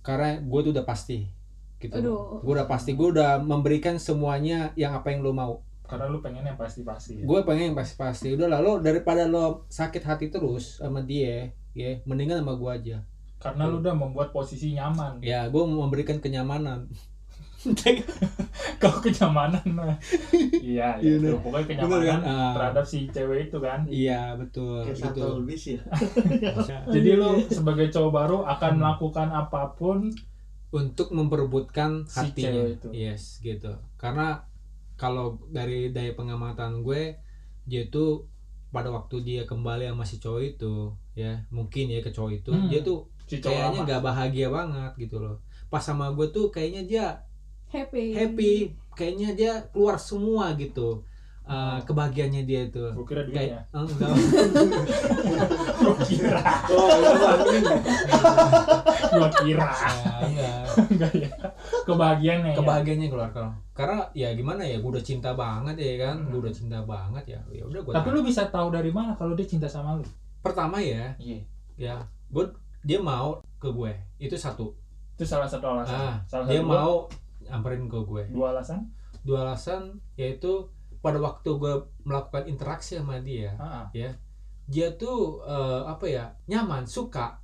Speaker 2: karena gue tuh udah pasti gitu.
Speaker 4: Aduh.
Speaker 2: Gue udah pasti, gue udah memberikan semuanya yang apa yang lo mau.
Speaker 1: karena lu pengen yang pasti-pasti ya?
Speaker 2: gue pengen yang pasti-pasti udah lah lo daripada lo sakit hati terus sama dia ya mendingan sama gue aja
Speaker 1: karena lu udah membuat posisi nyaman
Speaker 2: ya gue mau memberikan kenyamanan
Speaker 1: kau kenyamanan mah iya
Speaker 2: Iya,
Speaker 1: iya
Speaker 2: bener.
Speaker 1: betul. pokoknya
Speaker 2: Bener
Speaker 1: kenyamanan
Speaker 2: Ah,
Speaker 1: terhadap si cewek itu kan
Speaker 2: iya betul
Speaker 3: Kayak
Speaker 2: gitu
Speaker 3: satu bis ya.
Speaker 2: Oh, iya,
Speaker 1: jadi lu sebagai cowok baru
Speaker 2: Hmm.
Speaker 1: akan melakukan apapun
Speaker 2: untuk memperebutkan
Speaker 1: Si
Speaker 2: hatinya
Speaker 1: cewek itu.
Speaker 2: yes gitu karena kalau dari daya pengamatan gue dia tuh pada waktu dia kembali sama si cowok itu ya mungkin ya ke cowok itu
Speaker 1: Hmm.
Speaker 2: dia tuh
Speaker 1: si cowok
Speaker 2: kayaknya
Speaker 1: lama
Speaker 2: gak bahagia banget gitu loh pas sama gue tuh kayaknya dia
Speaker 4: happy
Speaker 2: happy kayaknya dia keluar semua gitu Eh, kebahagiaannya dia itu
Speaker 1: gue kira duitnya
Speaker 2: kayak Eh, enggak
Speaker 1: gue kira
Speaker 2: Iya.
Speaker 1: gue kira
Speaker 2: Ya, enggak.
Speaker 1: enggak ya kebahagiaannya ya
Speaker 2: kebahagiaannya keluar kalau karena ya gimana ya gue udah cinta banget ya kan gue udah cinta banget ya ya udah gue
Speaker 1: tapi lu bisa tahu dari mana kalau dia cinta sama lu
Speaker 2: pertama ya
Speaker 1: iya
Speaker 2: ya gue dia mau ke gue itu satu
Speaker 1: itu salah satu alasan
Speaker 2: ah
Speaker 1: salah
Speaker 2: dia
Speaker 1: satu
Speaker 2: mau amperin ke gue
Speaker 1: dua alasan
Speaker 2: dua alasan yaitu pada waktu gue melakukan interaksi sama dia
Speaker 1: Ah, ah.
Speaker 2: dia tuh eh, apa ya nyaman suka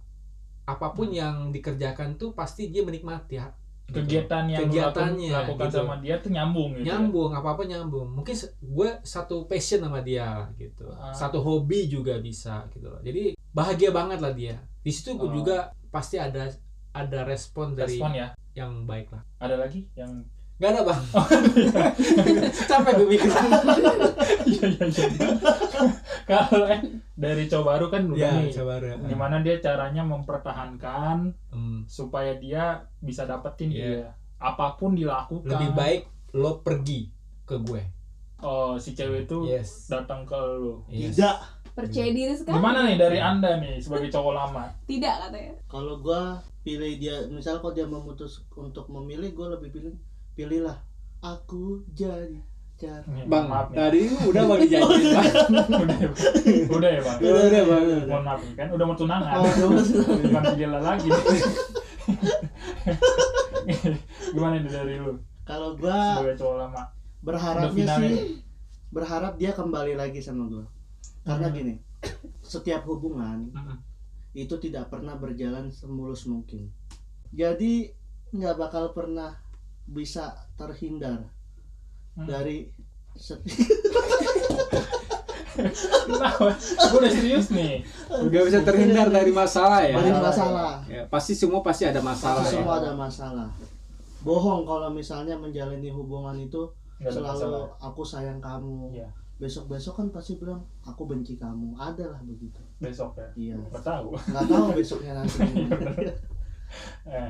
Speaker 2: apapun
Speaker 1: Hmm.
Speaker 2: yang dikerjakan tuh pasti dia menikmati ha- gitu.
Speaker 1: kegiatan yang lu lakukan,
Speaker 2: Kegiatannya,
Speaker 1: lakukan
Speaker 2: gitu.
Speaker 1: sama dia tuh nyambung gitu ya.
Speaker 2: nyambung apa apa nyambung mungkin se- gue satu passion sama dia gitu
Speaker 1: Ah.
Speaker 2: satu hobi juga bisa gitu loh jadi bahagia banget lah dia di situ gue
Speaker 1: Oh.
Speaker 2: juga pasti ada ada respon dari
Speaker 1: respon ya
Speaker 2: yang baik lah
Speaker 1: ada lagi yang
Speaker 2: Gak ada bang
Speaker 1: Oh,
Speaker 2: capek gue mikir
Speaker 1: iya iya iya kalau eh, dari cowok baru kan udah nih
Speaker 2: coba ya.
Speaker 1: gimana dia caranya mempertahankan
Speaker 2: Hmm,
Speaker 1: supaya dia bisa dapetin
Speaker 2: Iya.
Speaker 1: dia apapun dilakukan
Speaker 2: lebih baik lo pergi ke gue
Speaker 1: oh si cewek itu Iya,
Speaker 2: yes,
Speaker 1: datang ke lu
Speaker 2: Yes.
Speaker 3: Tidak.
Speaker 4: percaya diri sekali
Speaker 1: Iya. gimana nih dari
Speaker 2: Iya.
Speaker 1: anda nih sebagai cowok lama
Speaker 4: tidak katanya
Speaker 3: Kalau gua pilih dia, misal kalau dia memutus untuk memilih, gua lebih pilih pilihlah aku jadi car.
Speaker 1: Nih,
Speaker 2: Bang,
Speaker 1: maaf nih
Speaker 2: tadi udah mau dijanjiin Bang.
Speaker 1: udah ya bang udah ya bang
Speaker 2: Udah, udah, Bang.
Speaker 1: mohon maaf nih, kan udah mau tunangan
Speaker 3: Oh, udah mau tunangan.
Speaker 1: bukan gila lagi gimana nih dari lu
Speaker 3: Kalau gua
Speaker 1: sebagai cowok lama
Speaker 3: berharapnya
Speaker 1: Udah ya? finalnya.
Speaker 3: sih berharap dia kembali lagi sama gua. Karena
Speaker 1: Hmm.
Speaker 3: gini, setiap hubungan
Speaker 1: Mm-mm.
Speaker 3: itu tidak pernah berjalan semulus mungkin. Jadi nggak bakal pernah bisa terhindar
Speaker 1: Hmm.
Speaker 3: dari setiap
Speaker 1: Kenapa? Gue udah serius nih.
Speaker 2: Gak bisa terhindar dari masalah ya.
Speaker 3: Dari masalah.
Speaker 2: Ya, pasti semua pasti ada masalah. ya.
Speaker 3: Pasti semua ada masalah. Bohong kalau misalnya menjalani hubungan itu
Speaker 1: Gak ada masalah.
Speaker 3: selalu aku sayang kamu.
Speaker 1: Iya.
Speaker 3: Besok-besok kan pasti bilang aku benci kamu. Adalah begitu.
Speaker 1: Besok ya.
Speaker 3: Iya.
Speaker 1: Gak tahu.
Speaker 3: Nggak tahu besoknya nanti. gimana.
Speaker 1: Eh.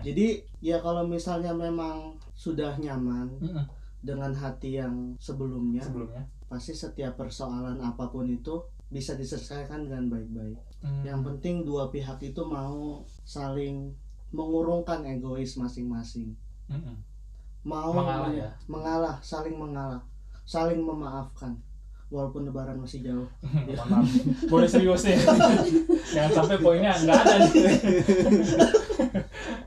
Speaker 3: Jadi ya kalau misalnya memang sudah nyaman
Speaker 1: Mm-mm.
Speaker 3: dengan hati yang sebelumnya,
Speaker 1: Sebelumnya.
Speaker 3: pasti setiap persoalan apapun itu bisa diselesaikan dengan baik-baik.
Speaker 1: Hmm.
Speaker 3: Yang penting dua pihak itu mau saling mengurungkan egois masing-masing.
Speaker 1: Mm-mm.
Speaker 3: mau
Speaker 1: Mengalah ya?
Speaker 3: mengalah, saling mengalah, saling memaafkan walaupun lebaran masih jauh.
Speaker 1: Mohon maaf. Gue udah serius nih. Jangan sampai poinnya nggak ada nih.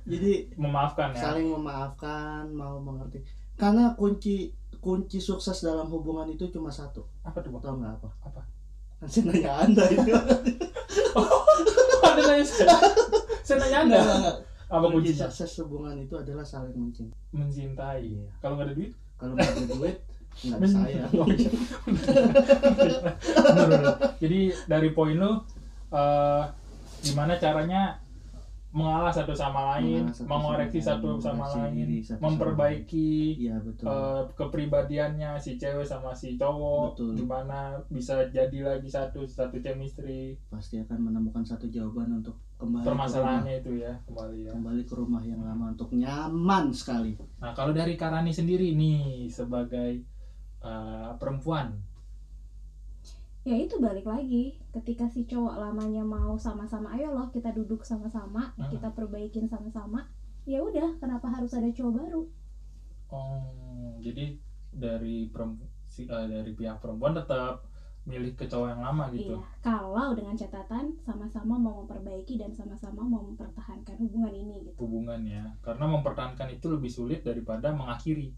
Speaker 3: Jadi
Speaker 1: Memaafkan ya.
Speaker 3: saling memaafkan, mau mengerti. Karena kunci kunci sukses dalam hubungan itu cuma satu.
Speaker 1: Apa tuh bang?
Speaker 3: Tahu nggak apa?
Speaker 1: Apa?
Speaker 3: Nanti nanya Anda itu.
Speaker 1: Ada nanya saya. Saya nanya anda. Apa
Speaker 3: kunci
Speaker 1: kuncinya?
Speaker 3: Iya. sukses hubungan itu adalah saling mencintai. Iya.
Speaker 1: Mencintai. Kalau nggak ada duit? Oh,
Speaker 5: kalau nggak ada duit nggak ada saya
Speaker 1: Bener, bener. Jadi dari poin lu eh, gimana caranya mengalah satu sama lain,
Speaker 3: Mengalah satu sama
Speaker 1: mengoreksi
Speaker 3: lain,
Speaker 1: satu sama
Speaker 3: mengoreksi diri
Speaker 1: lain,
Speaker 3: satu sama
Speaker 1: memperbaiki
Speaker 3: iya betul
Speaker 1: eh, kepribadiannya si cewek sama si cowok,
Speaker 3: Betul.
Speaker 1: gimana bisa jadi lagi satu satu chemistry
Speaker 3: pasti akan menemukan satu jawaban untuk kembali ke rumah-
Speaker 1: permasalahannya itu ya kembali ya.
Speaker 3: kembali ke rumah yang lama untuk nyaman sekali
Speaker 1: Nah kalau dari Karani sendiri nih sebagai eh, perempuan,
Speaker 4: ya itu balik lagi ketika si cowok lamanya mau sama-sama ayo loh kita duduk sama-sama
Speaker 1: Hmm.
Speaker 4: kita perbaikin sama-sama ya udah kenapa harus ada cowok baru
Speaker 1: oh jadi dari perempu- si- eh, dari pihak perempuan tetap milih ke cowok yang lama gitu.
Speaker 4: iya kalau dengan catatan sama-sama mau memperbaiki dan sama-sama mau mempertahankan hubungan ini gitu
Speaker 1: hubungan ya karena mempertahankan itu lebih sulit daripada mengakhiri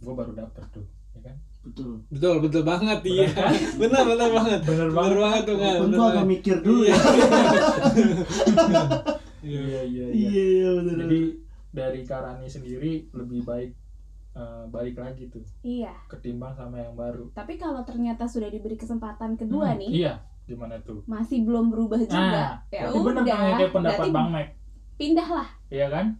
Speaker 1: gue baru dapet tuh ya kan
Speaker 3: betul
Speaker 2: betul betul banget iya
Speaker 1: Bener kan?
Speaker 2: benar benar banget
Speaker 1: bener banget
Speaker 2: benar banget tuh kan
Speaker 3: walaupun gua agak mikir dulu ya
Speaker 2: iya
Speaker 1: iya iya iya
Speaker 3: iya iya betul
Speaker 1: jadi dari Karani sendiri lebih baik eh, balik lagi tuh
Speaker 4: iya
Speaker 1: ketimbang sama yang baru
Speaker 4: tapi kalau ternyata sudah diberi kesempatan kedua
Speaker 1: Hmm,
Speaker 4: nih
Speaker 1: iya gimana tuh
Speaker 4: masih belum berubah
Speaker 1: nah
Speaker 4: juga ya
Speaker 1: berarti bener kan yang kayak pendapat
Speaker 4: berarti
Speaker 1: Bang Mac
Speaker 4: pindahlah
Speaker 1: iya kan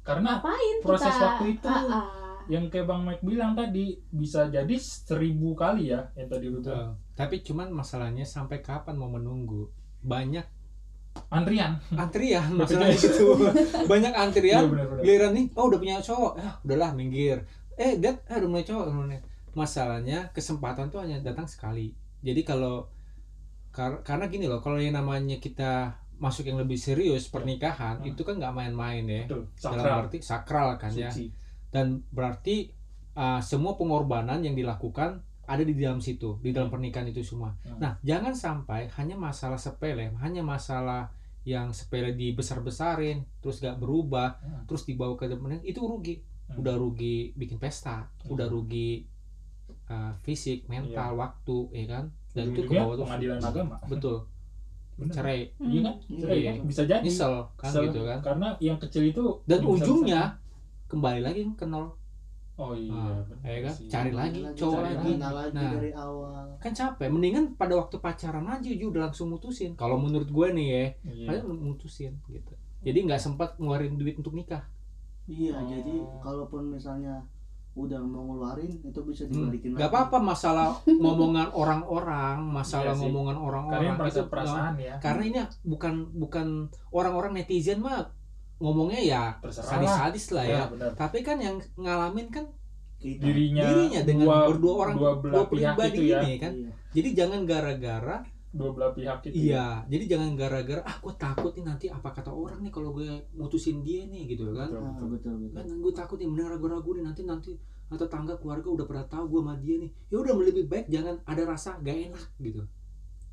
Speaker 1: karena
Speaker 4: ngapain
Speaker 1: proses
Speaker 4: kita
Speaker 1: waktu itu.
Speaker 4: Ah, ah.
Speaker 1: yang kayak Bang Mac bilang tadi bisa jadi seribu kali ya yang tadi lu bilang.
Speaker 2: Betul. tapi cuman masalahnya sampai kapan mau menunggu banyak
Speaker 1: antrian
Speaker 2: antrian masalahnya itu banyak antrian
Speaker 1: Iya, bener-bener.
Speaker 2: giliran nih oh udah punya cowok ah udahlah minggir eh dat ah udah punya cowok udah punya- masalahnya kesempatan tuh hanya datang sekali jadi kalau kar- karena gini loh kalau yang namanya kita masuk yang lebih serius pernikahan
Speaker 1: Hmm.
Speaker 2: itu kan nggak main-main ya
Speaker 1: Betul,
Speaker 2: dalam
Speaker 1: sakral
Speaker 2: arti sakral kan ya
Speaker 1: suci
Speaker 2: dan berarti uh, semua pengorbanan yang dilakukan ada di dalam situ di dalam pernikahan itu semua
Speaker 1: Hmm.
Speaker 2: nah jangan sampai hanya masalah sepele hanya masalah yang sepele dibesar-besarin terus gak berubah
Speaker 1: Hmm.
Speaker 2: terus dibawa ke depan itu rugi
Speaker 1: Hmm.
Speaker 2: udah rugi bikin pesta
Speaker 1: Hmm. Iya.
Speaker 2: udah rugi uh, fisik mental waktu ya kan dan itu ke
Speaker 1: Ujung-ujungnya
Speaker 2: bawah tuh
Speaker 1: pengadilan agama
Speaker 2: betul
Speaker 1: Bener.
Speaker 2: cerai
Speaker 4: Hmm.
Speaker 1: Iya kan? Cerai
Speaker 2: Iya.
Speaker 1: kan? Bisa jadi.
Speaker 2: nyesel kan
Speaker 1: Sel-
Speaker 2: gitu kan
Speaker 1: Karena yang kecil itu
Speaker 2: dan
Speaker 1: bisa-bisa.
Speaker 2: ujungnya kembali lagi ke nol
Speaker 1: Oh iya.
Speaker 2: Ah,
Speaker 1: bener
Speaker 2: ya kan
Speaker 1: sih.
Speaker 2: cari lagi cowok
Speaker 1: cari
Speaker 2: lagi
Speaker 3: Kenal lagi
Speaker 2: Nah.
Speaker 3: dari awal
Speaker 2: kan capek mendingan pada waktu pacaran aja Ju, udah langsung mutusin kalau menurut gue nih ya
Speaker 1: Iya.
Speaker 2: kalian mutusin gitu jadi nggak sempat ngeluarin duit untuk nikah
Speaker 3: iya
Speaker 1: Oh.
Speaker 3: jadi kalaupun misalnya udah mau ngeluarin itu bisa
Speaker 2: Hmm, nggak
Speaker 3: dibalikin lagi
Speaker 2: apa-apa masalah ngomongan orang-orang
Speaker 1: Iya
Speaker 2: masalah
Speaker 1: sih.
Speaker 2: ngomongan
Speaker 1: Kalian
Speaker 2: orang-orang
Speaker 1: merasa
Speaker 2: itu
Speaker 1: perasaan ya.
Speaker 2: karena ini bukan bukan orang-orang netizen mah ngomongnya ya
Speaker 1: Terserah lah.
Speaker 2: sadis-sadis lah ya
Speaker 1: Ya, benar.
Speaker 2: tapi kan yang ngalamin kan
Speaker 3: Kita-
Speaker 1: Dirinya,
Speaker 2: dirinya dengan
Speaker 1: dua,
Speaker 2: berdua orang
Speaker 1: dua belah pihak
Speaker 2: pribadi
Speaker 1: itu ya.
Speaker 2: ini kan
Speaker 3: Iya.
Speaker 2: jadi jangan gara-gara
Speaker 1: Dua belah pihak itu. ya.
Speaker 2: Iya, jadi jangan gara-gara ah gue takut nih nanti apa kata orang nih kalau gue mutusin dia nih gitu kan.
Speaker 1: Betul, Nah,
Speaker 3: Ah,
Speaker 1: betul.
Speaker 3: betul betul
Speaker 2: Kan gue takut nih bener ragu-ragu nih nanti nanti atau tangga keluarga udah pada tahu gue sama dia nih. Ya udah lebih baik jangan ada rasa gak enak gitu.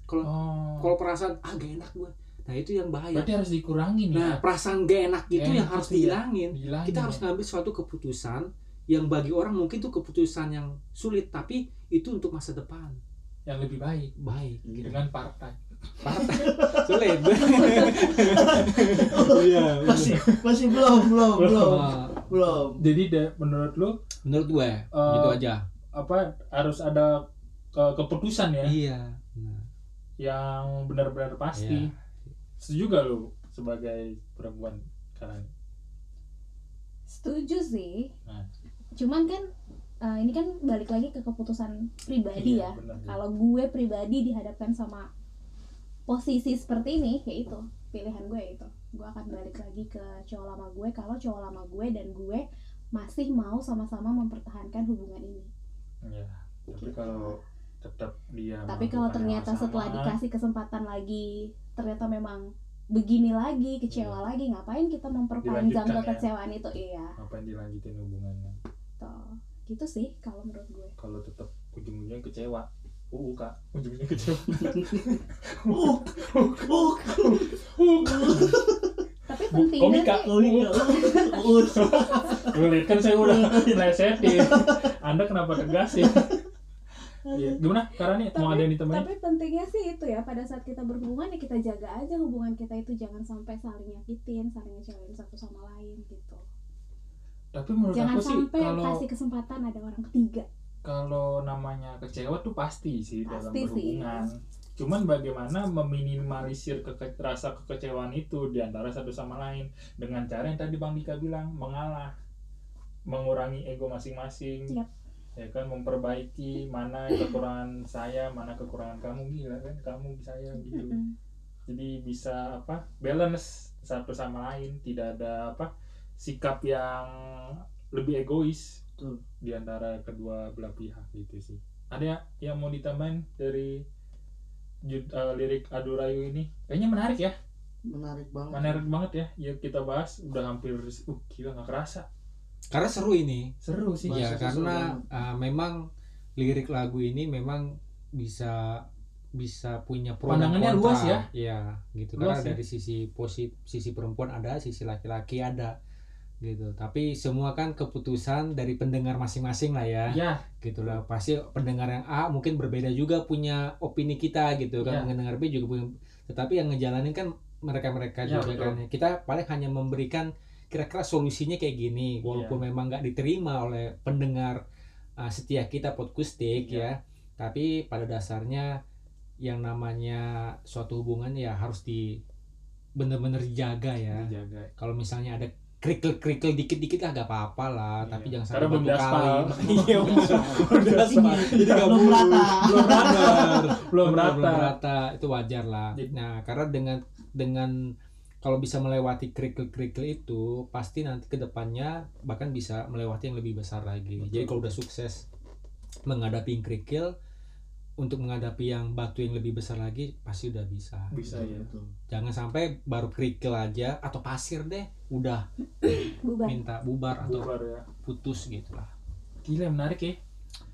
Speaker 1: Oh.
Speaker 2: Kalau perasaan ah gak enak gue. Nah, itu yang bahaya.
Speaker 1: Berarti harus dikurangi nih.
Speaker 2: Nah, perasaan gak enak Iya. itu
Speaker 1: Gak
Speaker 2: yang
Speaker 1: enak
Speaker 2: harus
Speaker 1: itu ya.
Speaker 2: dihilangin.
Speaker 1: Dihilangin
Speaker 2: Kita
Speaker 1: ya.
Speaker 2: harus ngambil suatu keputusan yang bagi orang mungkin tuh keputusan yang sulit tapi itu untuk masa depan
Speaker 1: yang lebih baik
Speaker 2: baik gitu.
Speaker 1: dengan partai.
Speaker 2: Partai sulit. Iya. bener.
Speaker 3: masih masih belum belum belum
Speaker 2: Nah,
Speaker 3: belum
Speaker 1: Jadi de- menurut lu
Speaker 2: menurut gue
Speaker 1: Eh,
Speaker 2: gitu aja.
Speaker 1: apa harus ada ke- keputusan ya
Speaker 2: Iya. Nah,
Speaker 1: yang benar-benar pasti. Setuju gak lu sebagai perempuan Karani?
Speaker 4: Setuju sih.
Speaker 1: Nah.
Speaker 4: Cuman kan eh, ini kan balik lagi ke keputusan pribadi
Speaker 1: Iya,
Speaker 4: ya.
Speaker 1: benar.
Speaker 4: Kalau gue pribadi dihadapkan sama posisi seperti ini, yaitu pilihan gue ya itu. Gue akan balik lagi ke cowok lama gue kalau cowok lama gue dan gue masih mau sama-sama mempertahankan hubungan ini.
Speaker 1: Iya. Tapi kalau tetap dia
Speaker 4: Gitu. Tapi kalau
Speaker 1: melakukan
Speaker 4: ternyata
Speaker 1: yang
Speaker 4: setelah
Speaker 1: sama,
Speaker 4: dikasih kesempatan lagi, ternyata memang begini lagi, kecewa lagi, ngapain kita memperpanjang
Speaker 1: Iya. Dilanjutkan ya.
Speaker 4: kekecewaan itu? Iya,
Speaker 1: ngapain dilanjutin hubungannya?
Speaker 4: tuh. Gitu sih kalau menurut gue.
Speaker 1: Kalau tetap ujung-ujungnya kecewa. Uh, uh, Kak, ujung-ujungnya kecewa.
Speaker 3: uh uh
Speaker 1: Uh,
Speaker 4: Tapi
Speaker 1: Bu-
Speaker 4: pentingnya
Speaker 1: komika.
Speaker 4: sih-
Speaker 3: oh iya uh
Speaker 1: lu lihat kan saya udah melesetin. Anda kenapa tegas sih? Iya, gimana? Karena nih mau ada yang ditambahin?
Speaker 4: tapi pentingnya sih itu ya pada saat kita berhubungan ya kita jaga aja hubungan kita itu jangan sampai saling nyakitin saling ngecewain satu sama lain gitu
Speaker 1: Tapi, tapi menurut
Speaker 4: Jangan
Speaker 1: aku sih
Speaker 4: sampai ya,
Speaker 1: kalau
Speaker 4: kasih kesempatan ada orang ketiga.
Speaker 1: kalau namanya kecewa tuh pasti sih dalam
Speaker 4: Pasti sih.
Speaker 1: berhubungan cuman bagaimana meminimalisir keke- rasa kekecewaan itu di antara satu sama lain dengan cara yang tadi Bang Dika bilang mengalah mengurangi ego masing-masing
Speaker 4: Yap.
Speaker 1: ya kan memperbaiki mana kekurangan saya mana kekurangan kamu gila kan kamu saya gitu
Speaker 4: Mm-mm.
Speaker 1: jadi bisa apa balance satu sama lain tidak ada apa sikap yang lebih egois
Speaker 3: Betul.
Speaker 1: di antara kedua belah pihak gitu sih ada yang mau ditambahin dari ju- eh, lirik adu rayu ini kayaknya menarik ya
Speaker 3: menarik banget
Speaker 1: menarik banget ya ya kita bahas udah hampir uh gila nggak kerasa
Speaker 2: Karena seru ini.
Speaker 1: seru sih
Speaker 2: Ya
Speaker 3: Bahasa itu
Speaker 2: karena
Speaker 3: seru
Speaker 2: uh, memang lirik lagu ini memang bisa bisa punya pro dan
Speaker 1: Pandangannya
Speaker 2: kontra.
Speaker 1: luas ya?
Speaker 2: Iya, gitu.
Speaker 1: Luas
Speaker 2: karena
Speaker 1: ya?
Speaker 2: dari sisi posi, sisi perempuan ada, sisi laki-laki ada gitu. Tapi semua kan keputusan dari pendengar masing-masing lah ya.
Speaker 1: ya
Speaker 2: Gitu lah. Pasti pendengar yang A mungkin berbeda juga punya opini kita gitu
Speaker 1: Ya.
Speaker 2: kan. Pendengar B juga punya tetapi yang ngejalanin kan mereka-mereka
Speaker 1: Ya, betul.
Speaker 2: juga kan. Kita paling hanya memberikan kira-kira solusinya kayak gini
Speaker 1: Iya.
Speaker 2: walaupun memang nggak diterima oleh pendengar uh, setia kita podcastik
Speaker 1: Iya.
Speaker 2: ya tapi pada dasarnya yang namanya suatu hubungan ya harus di bener-bener dijaga ya
Speaker 1: dijaga
Speaker 2: kalau misalnya ada kerikil-kerikil dikit-dikit lah nggak apa-apa lah
Speaker 1: Iya.
Speaker 2: Ah, tapi jangan
Speaker 1: Karena
Speaker 2: sampai
Speaker 1: belum
Speaker 2: batu kali
Speaker 1: diaspal.
Speaker 2: iya udah
Speaker 1: diaspal.
Speaker 2: jadi nggak
Speaker 3: belum
Speaker 2: boleh.
Speaker 3: rata
Speaker 2: belum rata
Speaker 1: belum
Speaker 2: belum
Speaker 1: rata
Speaker 2: rata itu wajar lah
Speaker 1: Jadi-
Speaker 2: nah karena dengan dengan kalau bisa melewati kerikil-kerikil itu pasti nanti kedepannya bahkan bisa melewati yang lebih besar lagi
Speaker 1: Betul.
Speaker 2: jadi kalau udah sukses menghadapi yang kerikil untuk menghadapi yang batu yang lebih besar lagi pasti udah bisa
Speaker 1: bisa ya
Speaker 3: Betul.
Speaker 2: jangan sampai baru kerikil aja atau pasir deh udah
Speaker 4: Bubar.
Speaker 2: minta bubar atau
Speaker 1: bubar ya
Speaker 2: putus gitu lah
Speaker 1: gila menarik ya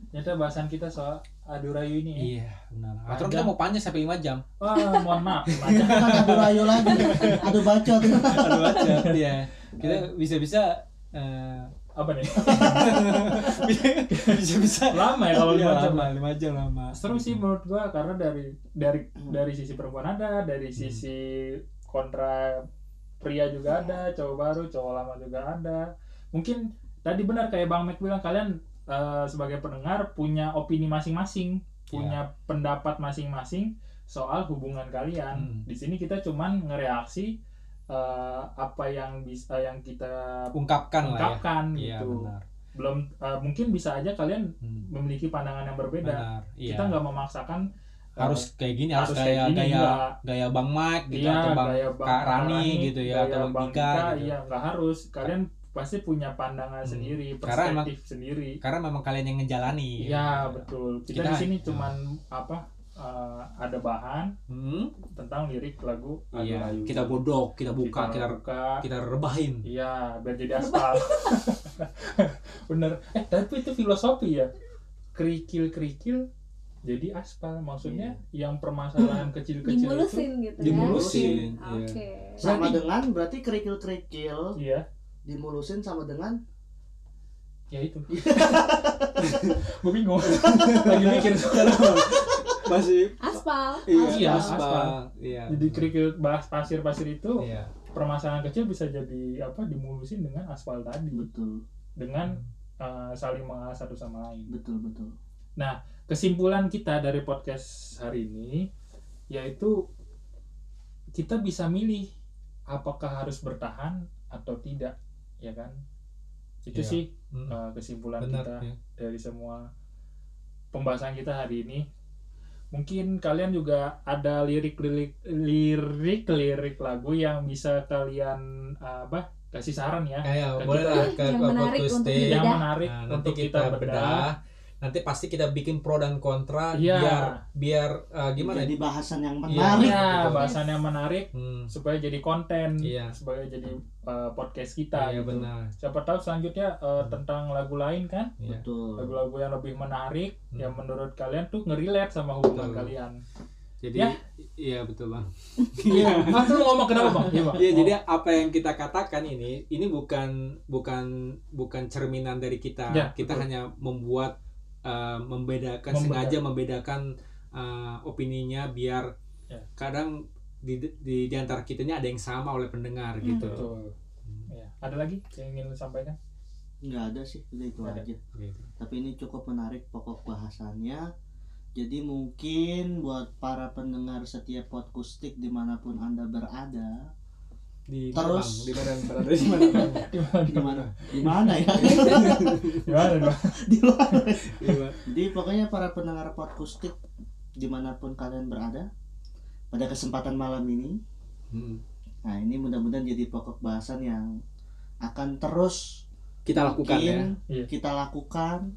Speaker 1: ternyata bahasan kita soal adu rayu ini ya.
Speaker 2: iya benar atau
Speaker 1: Ada.
Speaker 2: kita mau panjang sampai 5 jam
Speaker 1: Wah, mohon maaf. Banyak.
Speaker 3: bukan adu rayu lagi adu bacot
Speaker 2: Aduh, wajar ya kita bisa-bisa eh,
Speaker 1: Apa nih?
Speaker 2: bisa
Speaker 1: ya,
Speaker 2: bisa
Speaker 1: Lama ya kalau lima jam.
Speaker 2: lima jam Iya, lama Gitu.
Speaker 1: Seru sih menurut gua karena dari dari dari sisi perempuan ada, dari
Speaker 2: Hmm.
Speaker 1: sisi kontra pria juga ada, cowok baru, cowok lama juga ada. Mungkin tadi benar kayak Bang Mac bilang kalian eh, sebagai pendengar punya opini
Speaker 2: Iya.
Speaker 1: masing-masing, punya pendapat masing-masing soal hubungan kalian.
Speaker 2: Hmm.
Speaker 1: Di sini kita cuman ngereaksi eh, apa yang bisa yang kita
Speaker 2: ungkapkan lah ya
Speaker 1: ungkapkan
Speaker 2: iya
Speaker 1: gitu.
Speaker 2: benar
Speaker 1: belum eh, mungkin bisa aja kalian
Speaker 2: Hmm,
Speaker 1: memiliki pandangan yang berbeda.
Speaker 2: benar iya
Speaker 1: Kita nggak memaksakan eh,
Speaker 2: harus kayak gini harus,
Speaker 1: harus
Speaker 2: gaya
Speaker 1: kayak gini,
Speaker 2: gaya
Speaker 1: nggak.
Speaker 2: gaya bang Mike gitu
Speaker 1: iya,
Speaker 2: atau bang
Speaker 1: gaya
Speaker 2: Kak Rani gitu ya,
Speaker 1: gaya
Speaker 2: atau Bang Dika gitu.
Speaker 1: Iya, nggak harus. Kalian pasti punya pandangan
Speaker 2: Hmm.
Speaker 1: sendiri,
Speaker 2: Karena emang-
Speaker 1: perspektif sendiri.
Speaker 2: karena memang kalian yang ngejalani
Speaker 1: Iya, betul. Kita,
Speaker 2: Kita- iya.
Speaker 1: di sini cuman apa? eh, ada bahan
Speaker 2: Hmm,
Speaker 1: tentang lirik lagu Adu
Speaker 2: iya
Speaker 1: Rayu.
Speaker 2: kita bodok kita buka kita
Speaker 1: buka.
Speaker 2: kita rebahin
Speaker 1: Iya, biar jadi aspal. Bener. Eh, tapi itu filosofi ya. Kerikil-kerikil jadi aspal. Maksudnya
Speaker 2: Iya.
Speaker 1: yang permasalahan kecil-kecil itu.
Speaker 4: Dimulusin gitu
Speaker 1: dimulus-
Speaker 4: ya.
Speaker 2: dimulusin
Speaker 4: Oke.
Speaker 2: iya.
Speaker 3: sama
Speaker 1: Berarti-
Speaker 3: dengan berarti kerikil kerikil
Speaker 1: Iya,
Speaker 3: dimulusin sama dengan
Speaker 1: ya itu. Gue bingung. Lagi mikir.
Speaker 2: masih
Speaker 4: Aspal.
Speaker 1: Iya,
Speaker 2: aspal.
Speaker 1: aspal.
Speaker 2: iya
Speaker 1: Jadi kerikil bahas pasir-pasir itu
Speaker 2: iya
Speaker 1: permasalahan kecil bisa jadi apa dimulusin dengan aspal tadi
Speaker 3: betul
Speaker 1: dengan eh, saling mengalah satu sama lain.
Speaker 3: betul betul
Speaker 1: kesimpulan kita dari podcast hari ini yaitu kita bisa milih apakah harus bertahan atau tidak ya kan itu
Speaker 2: Iya.
Speaker 1: sih
Speaker 2: Hmm,
Speaker 1: uh, kesimpulan
Speaker 2: benar
Speaker 1: kita
Speaker 2: ya.
Speaker 1: dari semua pembahasan kita hari ini mungkin kalian juga ada lirik-lirik lirik-lirik lagu yang bisa kalian uh, apa kasih saran ya
Speaker 2: kayak
Speaker 1: Kita-
Speaker 2: boleh lah ke
Speaker 4: Yang
Speaker 2: ke
Speaker 4: menarik
Speaker 2: podcast
Speaker 4: untuk
Speaker 2: day.
Speaker 1: yang
Speaker 4: Bedah.
Speaker 1: menarik
Speaker 2: Nah, nanti
Speaker 1: untuk
Speaker 2: kita,
Speaker 1: kita,
Speaker 2: bedah. nanti pasti kita bikin pro dan kontra
Speaker 1: Iya.
Speaker 2: biar biar eh, gimana
Speaker 3: jadi bahasan yang
Speaker 2: Iya.
Speaker 1: bedah
Speaker 3: menarik
Speaker 1: ya
Speaker 2: Gitu.
Speaker 1: bahasannya menarik
Speaker 2: Hmm,
Speaker 1: supaya jadi konten
Speaker 2: Iya.
Speaker 1: supaya jadi uh, podcast kita
Speaker 2: iya
Speaker 1: gitu.
Speaker 2: benar
Speaker 1: siapa tahu selanjutnya uh, tentang lagu lain kan
Speaker 2: Iya.
Speaker 3: betul
Speaker 1: lagu-lagu yang lebih menarik
Speaker 2: Hmm.
Speaker 1: yang menurut kalian tuh ngerilate sama hubungan
Speaker 2: Betul.
Speaker 1: kalian
Speaker 2: jadi
Speaker 1: Ya.
Speaker 2: iya betul bang
Speaker 1: iya mas lu ngomong kenapa bang iya Bang.
Speaker 2: Iya,
Speaker 1: Oh,
Speaker 2: jadi apa yang kita katakan ini ini bukan bukan bukan cerminan dari kita
Speaker 1: Ya,
Speaker 2: kita
Speaker 1: betul.
Speaker 2: hanya membuat eh,
Speaker 1: Membedakan.
Speaker 2: membedakan sengaja membedakan eh, opininya biar
Speaker 1: Ya.
Speaker 2: kadang di, di di antara kitanya ada yang sama oleh pendengar gitu
Speaker 1: betul Iya. ada lagi yang ingin lu sampaikan
Speaker 3: nggak ada sih udah itu
Speaker 2: Nggak ada.
Speaker 3: aja
Speaker 2: Gitu.
Speaker 3: tapi ini cukup menarik pokok bahasannya jadi mungkin buat para pendengar setiap podcastik dimanapun anda berada
Speaker 2: Di
Speaker 3: Terus-
Speaker 2: Malang, di badan berada di mana? Bang?
Speaker 3: gimana gimana ya
Speaker 1: Gimana dong?
Speaker 3: di luar
Speaker 2: Di mana?
Speaker 3: jadi pokoknya para pendengar podcastik dimanapun kalian berada pada kesempatan malam ini
Speaker 2: Hmm.
Speaker 3: nah ini mudah-mudahan jadi pokok bahasan yang akan terus
Speaker 2: Kita lakukan ya.
Speaker 3: mungkin
Speaker 1: Iya.
Speaker 3: kita lakukan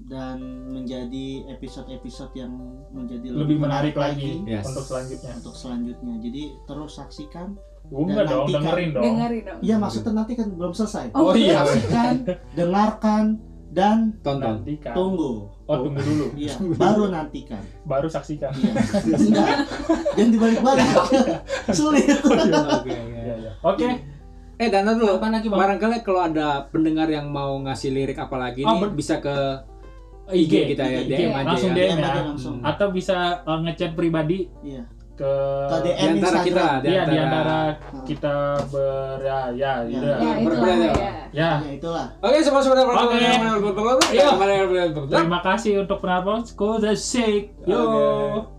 Speaker 3: dan menjadi episode-episode yang menjadi
Speaker 1: Lebih menarik lagi Iya.
Speaker 2: Yes.
Speaker 1: untuk selanjutnya.
Speaker 3: untuk selanjutnya. Jadi terus saksikan.
Speaker 1: Gue enggak
Speaker 3: Dan
Speaker 1: dong,
Speaker 3: nantikan.
Speaker 1: dengerin dong.
Speaker 4: Dengerin dong.
Speaker 3: Iya maksudnya nanti kan belum selesai.
Speaker 1: Oh
Speaker 4: 啊
Speaker 1: iya.
Speaker 3: Saksikan, dengarkan dan
Speaker 2: Tonton.
Speaker 1: Nantikan.
Speaker 3: tunggu.
Speaker 1: Oh, tunggu dulu.
Speaker 3: Iya, baru nantikan.
Speaker 1: Baru saksikan.
Speaker 3: Iya. Enggak. Jangan dibalik-balik. Sulit.
Speaker 2: Oke, oke.
Speaker 1: Oh, Iya, iya. Oke.
Speaker 2: Eh Dana dulu,
Speaker 1: Apaan lagi, Bang?
Speaker 2: barangkali kalau ada pendengar yang mau ngasih lirik apa lagi
Speaker 1: Oh,
Speaker 2: nih
Speaker 1: ber-
Speaker 2: bisa ke
Speaker 1: IG.
Speaker 2: IG kita ya,
Speaker 3: IG.
Speaker 2: DM aja
Speaker 1: Langsung
Speaker 2: ya.
Speaker 1: DM ya.
Speaker 3: aja Iya, langsung.
Speaker 2: Hmm.
Speaker 1: Atau bisa uh, ngechat pribadi
Speaker 3: Iya.
Speaker 1: ke
Speaker 3: Ke
Speaker 2: Di
Speaker 3: DM
Speaker 2: antara kita,
Speaker 3: Instagram.
Speaker 1: Iya, di antara
Speaker 2: diantara
Speaker 1: kita beraya ya.
Speaker 3: Iya.
Speaker 4: Ya itulah
Speaker 2: Berbeda.
Speaker 4: ya.
Speaker 1: Ya.
Speaker 3: Ya itulah.
Speaker 2: Oke, semua sudah
Speaker 1: Oke. Yuk.
Speaker 2: Oke.
Speaker 1: Terima kasih untuk penonton. School the sick. Yo.
Speaker 2: Oke.